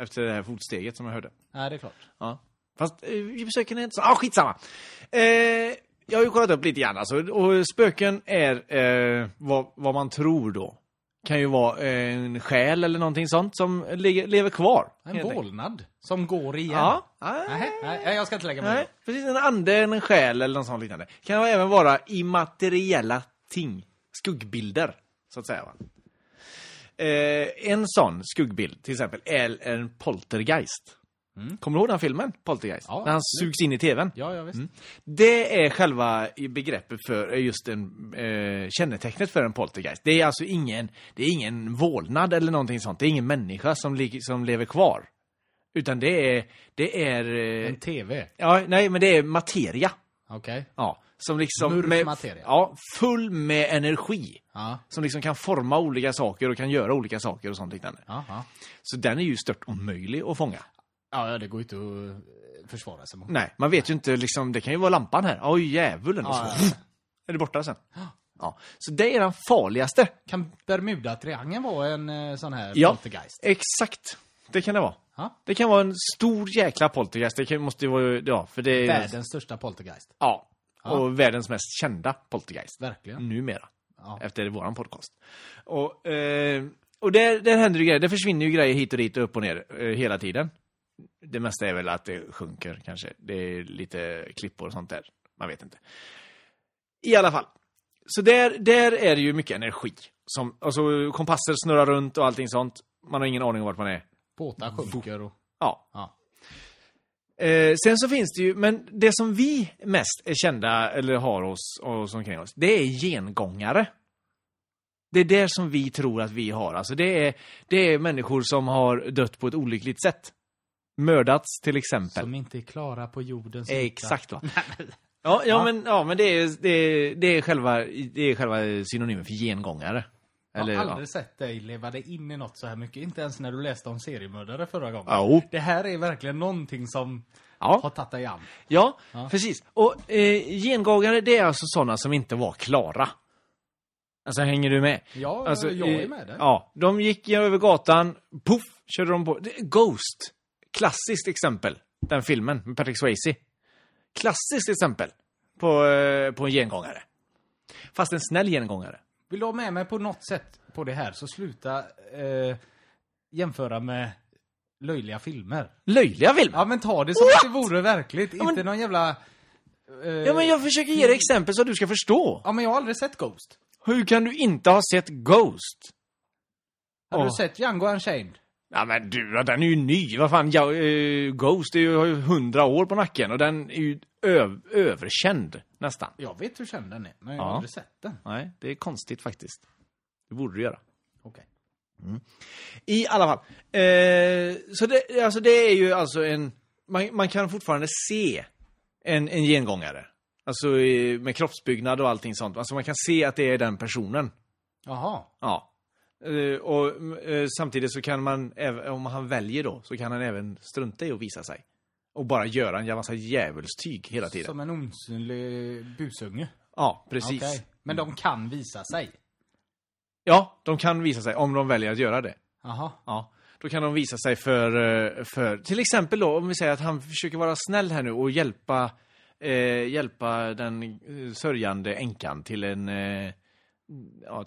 Speaker 2: Efter det här fotsteget som jag hörde.
Speaker 3: Nej, det är klart.
Speaker 2: Ja. Fast eh, besöken är inte så... Ah, skitsamma! Eh, jag har ju kollat upp lite grann alltså. Och spöken är eh, vad, vad man tror då. Kan ju vara eh, en själ eller någonting sånt som ligger, lever kvar.
Speaker 3: En
Speaker 2: helt enkelt.
Speaker 3: vålnad som går igen.
Speaker 2: Ja.
Speaker 3: Nej, nej, jag ska inte lägga mig
Speaker 2: Nej,
Speaker 3: i.
Speaker 2: precis. En ande, en själ eller något sånt liknande. Kan det även vara immateriella ting. Skuggbilder, så att säga. Va? Eh, en sån skuggbild, till exempel, är en poltergeist. Kommer du ihåg den filmen? Poltergeist?
Speaker 3: Mm. Ja,
Speaker 2: När han
Speaker 3: absolut.
Speaker 2: sugs in i tvn.
Speaker 3: Ja, ja visst.
Speaker 2: Mm. Det är själva i begreppet för eh, just en, eh, kännetecknet för en poltergeist. Det är alltså ingen, det är ingen vålnad eller någonting sånt. Det är ingen människa som, lig- som lever kvar. Utan det är, det är... eh,
Speaker 3: En TV.
Speaker 2: Ja, nej, men det är materia
Speaker 3: Okej.
Speaker 2: Ja, som liksom...
Speaker 3: Mörk
Speaker 2: med,
Speaker 3: materia.
Speaker 2: Ja, full med energi.
Speaker 3: Ja.
Speaker 2: Som liksom kan forma olika saker och kan göra olika saker och sånt liknande.
Speaker 3: Ja, ja.
Speaker 2: Så den är ju stört omöjlig att fånga.
Speaker 3: ja, ja, det går ju inte att eh, försvara sig mot.
Speaker 2: Nej, man vet ju inte liksom, det kan ju vara lampan här. Oj, djävulen. och så
Speaker 3: Ja, ja, ja.
Speaker 2: är det borta sen. Ja, så det är den farligaste.
Speaker 3: Kan Bermuda-triangeln vara en eh, sån här
Speaker 2: Ja,
Speaker 3: poltergeist?
Speaker 2: exakt. Det kan det vara.
Speaker 3: Ja.
Speaker 2: Det kan vara en stor jäkla poltergeist. Det kan, måste ju vara, ja, för det är...
Speaker 3: Världens största poltergeist.
Speaker 2: Ja. Och världens mest kända poltergeist.
Speaker 3: Verkligen.
Speaker 2: Numera.
Speaker 3: Ja.
Speaker 2: Efter våran podcast. Och, eh, och där, där händer ju grejer. Det försvinner ju grejer hit och dit och upp och ner eh, hela tiden. Det mesta är väl att det sjunker kanske. Det är lite klippor och sånt där. Man vet inte. I alla fall. Så där, där är det ju mycket energi. Som, alltså kompasser snurrar runt och allting sånt. Man har ingen aning om vart man är.
Speaker 3: Båtar sjunker och...
Speaker 2: Ja.
Speaker 3: Ja.
Speaker 2: Eh, sen så finns det ju, men det som vi mest är kända eller har oss och som omkring oss, det är gengångare. Det är det som vi tror att vi har. Alltså det är, det är människor som har dött på ett olyckligt sätt. Mördats till exempel. Eh,
Speaker 3: Som inte är klara på jordens yta.
Speaker 2: Exakt va? Ja, ja, Men, ja, men det är, det är, det är, själva, det är själva synonymen för gengångare. Eller,
Speaker 3: jag har
Speaker 2: ja,
Speaker 3: aldrig sett dig leva dig in i något så här mycket. Inte ens när du läste om seriemördare förra gången.
Speaker 2: Ja,
Speaker 3: Det här är verkligen någonting som
Speaker 2: ja.
Speaker 3: har tagit dig an.
Speaker 2: Ja,
Speaker 3: Ja.
Speaker 2: precis. Och eh, gengångare, det är alltså sådana som inte var klara. Alltså hänger du med?
Speaker 3: Ja,
Speaker 2: alltså,
Speaker 3: jag
Speaker 2: eh,
Speaker 3: är med där.
Speaker 2: Ja, de gick över gatan, puff, körde de på. Det- Ghost, klassiskt exempel. Den filmen med Patrick Swayze. Klassiskt exempel på, eh, på en gengångare. Fast en snäll gengångare.
Speaker 3: Vill du ha med mig på något sätt på det här så sluta eh, jämföra med löjliga filmer.
Speaker 2: Löjliga filmer.
Speaker 3: Ja men ta det som
Speaker 2: What?
Speaker 3: att det vore verkligt.
Speaker 2: men-
Speaker 3: Inte någon jävla... Eh,
Speaker 2: Ja, men jag försöker ge
Speaker 3: mm.
Speaker 2: dig exempel så att du ska förstå.
Speaker 3: ja men jag har aldrig sett Ghost.
Speaker 2: Hur kan du inte ha sett Ghost?
Speaker 3: Har du
Speaker 2: Åh.
Speaker 3: sett Django Unchained?
Speaker 2: Ja men du, den är ju ny. Vad fan, ja, eh, Ghost är ju, har ju hundra år på nacken och den är ju öv, överkänd nästan.
Speaker 3: Jag vet hur känd den är, men jag har
Speaker 2: Ja.
Speaker 3: aldrig sett den.
Speaker 2: Nej, det är konstigt faktiskt. Det borde du göra.
Speaker 3: Okej.
Speaker 2: Mm. I alla fall. Eh, så det, alltså det är ju alltså en... Man, man kan fortfarande se en, en gengångare. Alltså eh, med kroppsbyggnad och allting sånt. Alltså man kan se att det är den personen.
Speaker 3: Jaha.
Speaker 2: Ja. Eh, och eh, samtidigt så kan man, äv- om han väljer då, så kan han även strunta i att visa sig. Och bara göra en jävla massa djävulstyg hela tiden.
Speaker 3: Som en osynlig busunge.
Speaker 2: Ja, precis.
Speaker 3: Okej. Men de kan visa sig.
Speaker 2: Ja, de kan visa sig om de väljer att göra det.
Speaker 3: Jaha.
Speaker 2: Ja. Då kan de visa sig för, eh, för, till exempel då om vi säger att han försöker vara snäll här nu och hjälpa, eh, hjälpa den eh, sörjande änkan till en, eh, ja,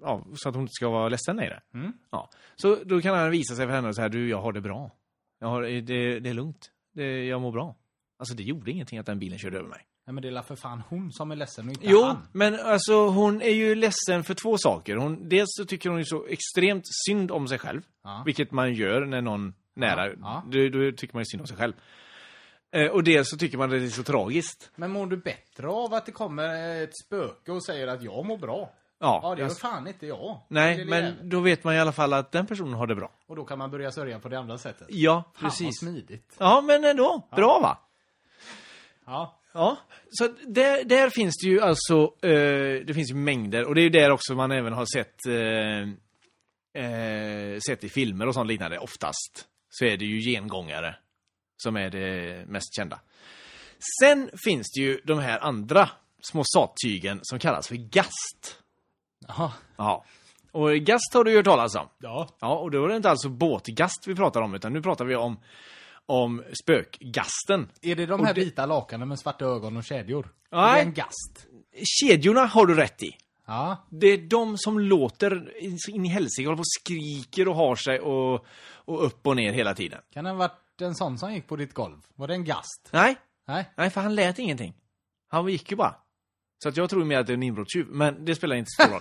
Speaker 2: ja, så att hon inte ska vara ledsen längre.
Speaker 3: Mm.
Speaker 2: Ja. Så då kan han visa sig för henne och säga du jag har det bra. Jag har, eh, det, det är lugnt. Det, jag mår bra. Alltså det gjorde ingenting att den bilen körde över mig.
Speaker 3: Nej men det är la för fan hon som är ledsen och inte
Speaker 2: Jo,
Speaker 3: han.
Speaker 2: men alltså hon är ju ledsen för två saker. Hon, dels så tycker hon ju så extremt synd om sig själv,
Speaker 3: Ja.
Speaker 2: vilket man gör när någon nära,
Speaker 3: Ja, ja.
Speaker 2: Då, då tycker man ju synd om sig själv. Eh, och dels så tycker man det är så tragiskt.
Speaker 3: Men mår du bättre av att det kommer ett spöke och säger att jag mår bra?
Speaker 2: Ja,
Speaker 3: Ja, det gör
Speaker 2: alltså,
Speaker 3: fan inte jag.
Speaker 2: nej,
Speaker 3: Lille jävel.
Speaker 2: men då vet man i alla fall att den personen har det bra.
Speaker 3: Och då kan man börja sörja på det andra sättet.
Speaker 2: Ja,
Speaker 3: Fan, vad
Speaker 2: precis.
Speaker 3: smidigt.
Speaker 2: Ja, men ändå. Bra va?
Speaker 3: Ja.
Speaker 2: Ja, så att där, där finns det ju alltså eh, det finns ju mängder och det är ju där också man även har sett eh, eh, sett i filmer och sånt liknande oftast så är det ju gengångare som är det mest kända. Sen finns det ju de här andra små sattygen som kallas för gast.
Speaker 3: Ja.
Speaker 2: Ja, och gast har du ju hört talas om.
Speaker 3: Ja.
Speaker 2: Ja, och då är det inte alltså båtgast vi pratar om utan nu pratar vi om om spökgasten.
Speaker 3: Är det de här vita lakanen med svarta ögon och kedjor?
Speaker 2: Nej.
Speaker 3: Är det en gast?
Speaker 2: Kedjorna har du rätt i.
Speaker 3: Ja.
Speaker 2: Det är de som låter så in i helsike, håller på och skriker och har sig och, och upp och ner hela tiden.
Speaker 3: Kan det ha varit en sån som gick på ditt golv? Var det en gast?
Speaker 2: Nej,
Speaker 3: Nej.
Speaker 2: nej för han lät ingenting. Han gick ju bara. Så att jag tror mer att det är en inbrottstjuv, men det spelar inte så stor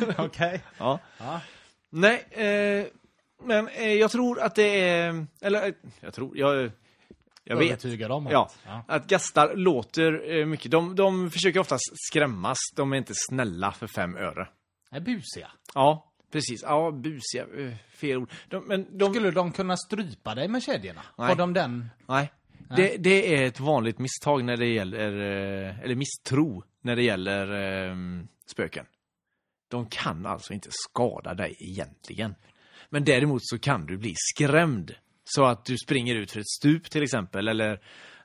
Speaker 2: roll.
Speaker 3: Okej.
Speaker 2: ja.
Speaker 3: Ja.
Speaker 2: Nej, eh, men eh, jag tror att det är... Eller, eh, jag tror... Jag, jag vet.
Speaker 3: Övertygad om
Speaker 2: Ja,
Speaker 3: att- ja.
Speaker 2: att gastar låter eh, mycket. De, de försöker oftast skrämmas. De är inte snälla för fem öre.
Speaker 3: Är busiga.
Speaker 2: Ja, precis. Ja, busiga. eh, Fel ord. De, men de,
Speaker 3: Skulle de kunna strypa dig med kedjorna?
Speaker 2: Nej.
Speaker 3: Har de den?
Speaker 2: Nej. Det, det är ett vanligt misstag när det gäller, eh, eller misstro, när det gäller eh, spöken. De kan alltså inte skada dig egentligen. Men däremot så kan du bli skrämd. Så att du springer ut för ett stup till exempel, eller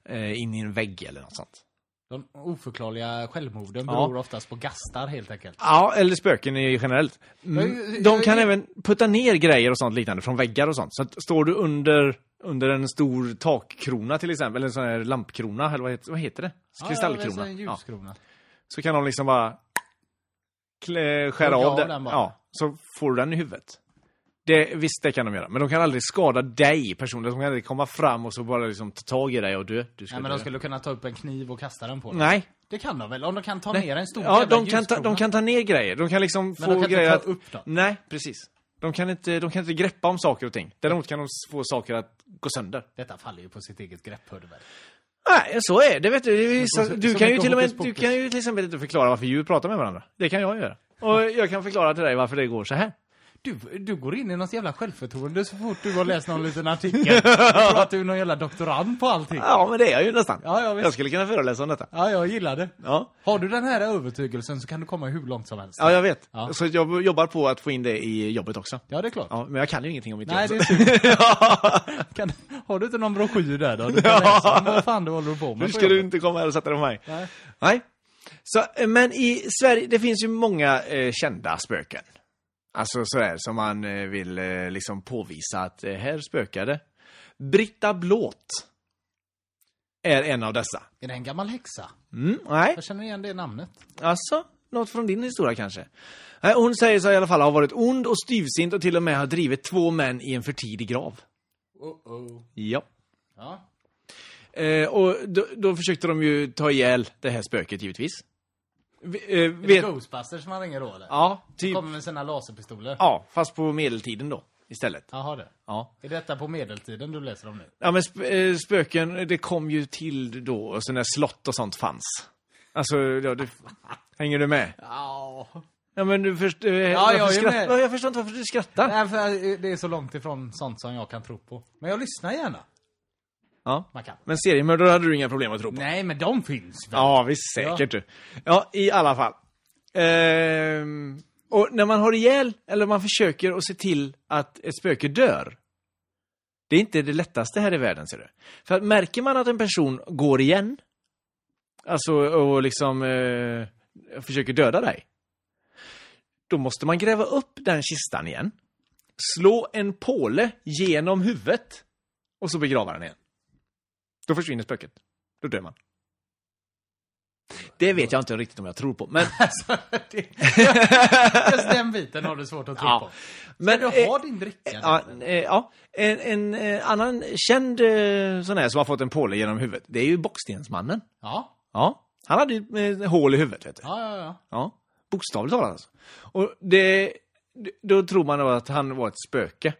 Speaker 2: eh, in i en vägg eller något sånt.
Speaker 3: De oförklarliga självmorden
Speaker 2: Ja.
Speaker 3: beror oftast på gastar helt enkelt.
Speaker 2: Ja, eller spöken är generellt. Mm, De kan även putta ner grejer och sånt liknande från väggar och sånt. Så att står du under, under en stor takkrona till exempel, eller en sån här lampkrona, eller vad heter, vad heter det?
Speaker 3: Ja,
Speaker 2: Kristallkrona.
Speaker 3: det är en
Speaker 2: Ja.
Speaker 3: ljuskrona.
Speaker 2: Så kan de liksom bara klä, skära
Speaker 3: Hugga
Speaker 2: av
Speaker 3: av
Speaker 2: den.
Speaker 3: den bara.
Speaker 2: Ja, så får du den i huvudet. Det, visst, det kan de göra. Men de kan aldrig skada dig personligen. De kan aldrig komma fram och så bara liksom ta tag i dig och dö. Du ska
Speaker 3: Nej men
Speaker 2: dö.
Speaker 3: de skulle kunna ta upp en kniv och kasta den på dig.
Speaker 2: Nej.
Speaker 3: Det kan de väl? Om de kan ta
Speaker 2: Nej.
Speaker 3: ner en stor
Speaker 2: ja,
Speaker 3: jävla
Speaker 2: de kan, ta, de
Speaker 3: ljuskrona.
Speaker 2: kan ta ner grejer. De kan liksom få
Speaker 3: de kan inte
Speaker 2: grejer
Speaker 3: ta
Speaker 2: att...
Speaker 3: upp dem.
Speaker 2: Nej, precis. De kan, inte, de kan inte greppa om saker och ting. Däremot kan de s- få saker att gå sönder.
Speaker 3: Detta faller ju på sitt eget grepp hörde du väl?
Speaker 2: Nej, så är det. Vet du Det är vissa-
Speaker 3: Som-
Speaker 2: du,
Speaker 3: som
Speaker 2: kan ju
Speaker 3: ett
Speaker 2: till och med,
Speaker 3: hokus
Speaker 2: du
Speaker 3: pokus.
Speaker 2: kan ju till exempel inte förklara varför djur pratar med varandra. Det kan jag göra. Och jag kan förklara till dig varför det går så här.
Speaker 3: Du, du går in i något jävla självförtroende så fort du har läst någon liten artikel. Du tror att du är någon jävla doktorand på allting.
Speaker 2: Ja, men det är jag ju nästan.
Speaker 3: Ja, ja, visst.
Speaker 2: jag skulle kunna föreläsa om detta.
Speaker 3: Ja, jag gillar det.
Speaker 2: Ja,
Speaker 3: Har du den här övertygelsen så kan du komma hur långt som helst.
Speaker 2: ja jag vet.
Speaker 3: Ja.
Speaker 2: Så jag jobbar på att få in det i jobbet också.
Speaker 3: Ja, det är klart.
Speaker 2: Ja, men jag kan ju ingenting om mitt
Speaker 3: Nej,
Speaker 2: jobb.
Speaker 3: det är synd. Kan, har du inte någon broschyr där då? Du kan läsa om vad fan du håller på med.
Speaker 2: Nu
Speaker 3: på
Speaker 2: ska du
Speaker 3: jobbet.
Speaker 2: inte komma här och sätta dig på mig.
Speaker 3: Nej.
Speaker 2: Nej. Så, eh, men i Sverige, det finns ju många eh, kända spöken. Alltså sådär som man eh, vill eh, liksom påvisa att eh, här spökar det. Britta Blåt är en av dessa.
Speaker 3: Är det en gammal häxa?
Speaker 2: Mm, nej,
Speaker 3: Jag känner igen det namnet.
Speaker 2: alltså något från din historia kanske. Nej, hon säger sig i alla fall ha varit ond och styvsint och till och med har drivit två män i en för tidig grav.
Speaker 3: Uh-oh.
Speaker 2: Ja.
Speaker 3: Ja.
Speaker 2: Eh, och då, då försökte de ju ta ihjäl det här spöket givetvis. Vi- eh,
Speaker 3: Är det
Speaker 2: vet-
Speaker 3: Ghostbusters man ringer då eller?
Speaker 2: Ja, typ.
Speaker 3: Kommer med sina laserpistoler?
Speaker 2: Ja, fast på medeltiden då istället.
Speaker 3: Jaha det.
Speaker 2: Ja.
Speaker 3: Är detta på medeltiden du läser om nu?
Speaker 2: Ja, men sp- eh, spöken, det kom ju till då, och sen när slott och sånt fanns. Alltså, ja, du, hänger du med?
Speaker 3: Ja.
Speaker 2: Ja, men du först, eh,
Speaker 3: jag är
Speaker 2: varför skratt-
Speaker 3: med.
Speaker 2: Ja, jag förstår inte varför du skrattar.
Speaker 3: Nej, för eh, det är så långt ifrån sånt som jag kan tro på. Men jag lyssnar gärna.
Speaker 2: Ja.
Speaker 3: Man kan.
Speaker 2: Men seriemördare hade du inga problem att tro på.
Speaker 3: Nej, men de finns väl?
Speaker 2: Ja, visst säkert du. Ja, i alla fall. Ehm, och när man har ihjäl, eller man försöker att se till att ett spöke dör. Det är inte det lättaste här i världen, ser du. För att märker man att en person går igen, alltså och liksom eh, försöker döda dig. Då måste man gräva upp den kistan igen, slå en påle genom huvudet och så begrava den igen. Då försvinner spöket. Då dör man. Det vet jag inte riktigt om jag tror på, men...
Speaker 3: Alltså, det, just den biten har du svårt att tro
Speaker 2: Ja.
Speaker 3: på.
Speaker 2: men
Speaker 3: Du har din dricka.
Speaker 2: eh, ja, eh, ja, en, en eh, annan känd eh, sån här som har fått en påle genom huvudet, det är ju Bockstensmannen.
Speaker 3: ja.
Speaker 2: Ja. Han hade ju eh, hål i huvudet, vet du.
Speaker 3: Ja, ja, ja.
Speaker 2: Ja, bokstavligt talat alltså. Och det, då tror man då att han var ett spöke.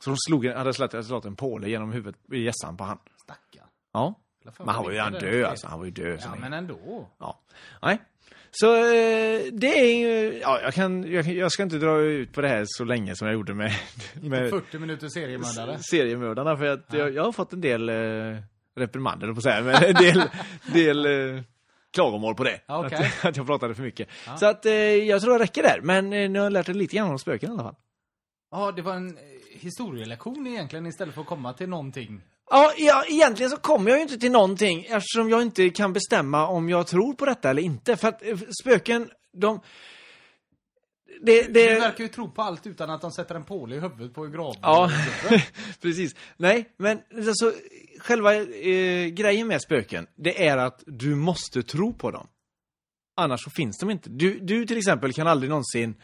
Speaker 2: Så de slog, en- hade slagit, slagit en påle genom huvudet i gässan på han.
Speaker 3: Stackarn.
Speaker 2: Ja. Men han var ju
Speaker 3: Vilken
Speaker 2: han död
Speaker 3: röst.
Speaker 2: alltså, han var ju död. så
Speaker 3: Ja,
Speaker 2: länge.
Speaker 3: men ändå.
Speaker 2: Ja. Nej. Så eh, det är ju... Ja, jag, kan, jag, jag ska inte dra ut på det här så länge som jag gjorde med, med
Speaker 3: 40 minuter seriemördare.
Speaker 2: Eh. s- seriemördarna. För att jag, jag har fått en del eh, reprimander, höll på att säga, men en del, del eh, klagomål på det.
Speaker 3: Ja, okej.
Speaker 2: Att, att jag pratade för mycket. Så att, eh, jag tror det räcker där. Men eh, nu har jag lärt er lite grann om spöken i alla fall.
Speaker 3: Ja, det var en eh, historielektion egentligen istället för att komma till någonting.
Speaker 2: Ja, ja, egentligen så kommer jag ju inte till någonting eftersom jag inte kan bestämma om jag tror på detta eller inte. För att eh, spöken, de... Det, det...
Speaker 3: Du verkar ju tro på allt utan att de sätter en påle i huvudet på en grav.
Speaker 2: Ja, precis. Nej, men alltså, själva eh, grejen med spöken, det är att du måste tro på dem. Annars så finns de inte. Du, du till exempel kan aldrig någonsin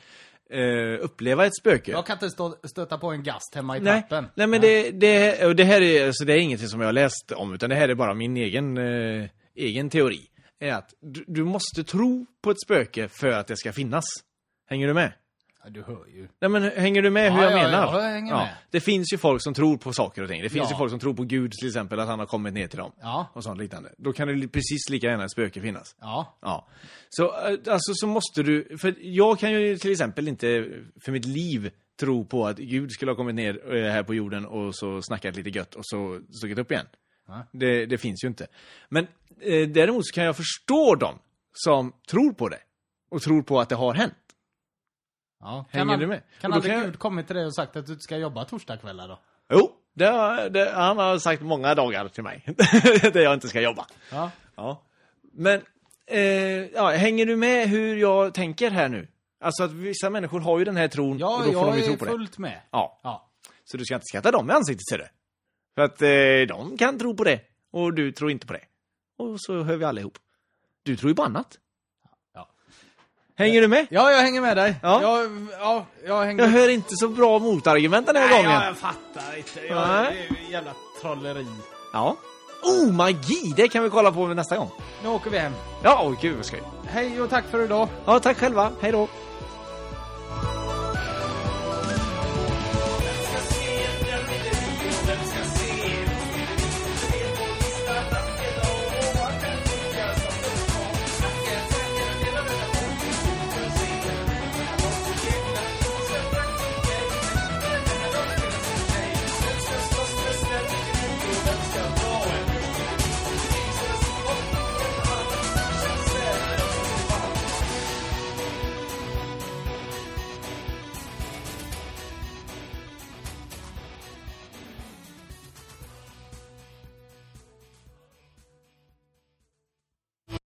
Speaker 2: eh, uppleva ett spöke.
Speaker 3: Jag kan inte stå, stöta på en gast hemma i
Speaker 2: Nej,
Speaker 3: trappen.
Speaker 2: nej, men det, det, och det här är, alltså, det är ingenting som jag har läst om, utan det här är bara min egen, eh, egen teori. Är att du, du måste tro på ett spöke för att det ska finnas. Hänger du med?
Speaker 3: Ja, du hör ju.
Speaker 2: Nej, men hänger du med hur
Speaker 3: Ja,
Speaker 2: jag
Speaker 3: ja,
Speaker 2: menar?
Speaker 3: ja, jag hänger med.
Speaker 2: Det finns ju folk som tror på saker och ting. Det finns
Speaker 3: Ja.
Speaker 2: ju folk som tror på Gud till exempel, att han har kommit ner till dem.
Speaker 3: Ja.
Speaker 2: Och sånt liknande. Då kan det li- precis lika gärna ett spöke finnas.
Speaker 3: Ja.
Speaker 2: Ja. Så eh, alltså så måste du, för jag kan ju till exempel inte för mitt liv tro på att Gud skulle ha kommit ner eh, här på jorden och så snackat lite gött och så stuckit upp igen. Det, det finns ju inte. Men eh, däremot så kan jag förstå dem som tror på det. Och tror på att det har hänt.
Speaker 3: Ja.
Speaker 2: Hänger
Speaker 3: kan
Speaker 2: du med? Och
Speaker 3: Kan
Speaker 2: då
Speaker 3: aldrig
Speaker 2: kan jag-
Speaker 3: Gud kommit till dig och sagt att du inte ska jobba torsdagskvällar då?
Speaker 2: Jo, det, har- det, han har sagt många dagar till mig. där jag inte ska jobba.
Speaker 3: Ja.
Speaker 2: Ja. Men, eh, ja, hänger du med hur jag tänker här nu? Alltså att vissa människor har ju den här tron och
Speaker 3: Ja,
Speaker 2: då får de
Speaker 3: jag
Speaker 2: ju tro
Speaker 3: är
Speaker 2: på det.
Speaker 3: fullt med.
Speaker 2: Ja,
Speaker 3: Ja.
Speaker 2: så du ska inte skatta dem i ansiktet ser du. För att eh, de kan tro på det och du tror inte på det. Och så hör vi alla ihop. Du tror ju på annat.
Speaker 3: Ja.
Speaker 2: Hänger du med?
Speaker 3: Ja, jag hänger med dig.
Speaker 2: Ja.
Speaker 3: Jag, ja, jag hänger
Speaker 2: Jag hör inte så bra motargument den här
Speaker 3: Nej,
Speaker 2: gången.
Speaker 3: jag, jag fattar inte. Jag,
Speaker 2: Nej.
Speaker 3: det är ju jävla trolleri.
Speaker 2: Ja. Oh, magi! Det kan vi kolla på nästa gång.
Speaker 3: Nu åker vi hem.
Speaker 2: Ja, åh, gud vad skoj.
Speaker 3: Hej och tack för idag.
Speaker 2: Ja, tack själva. Hej då.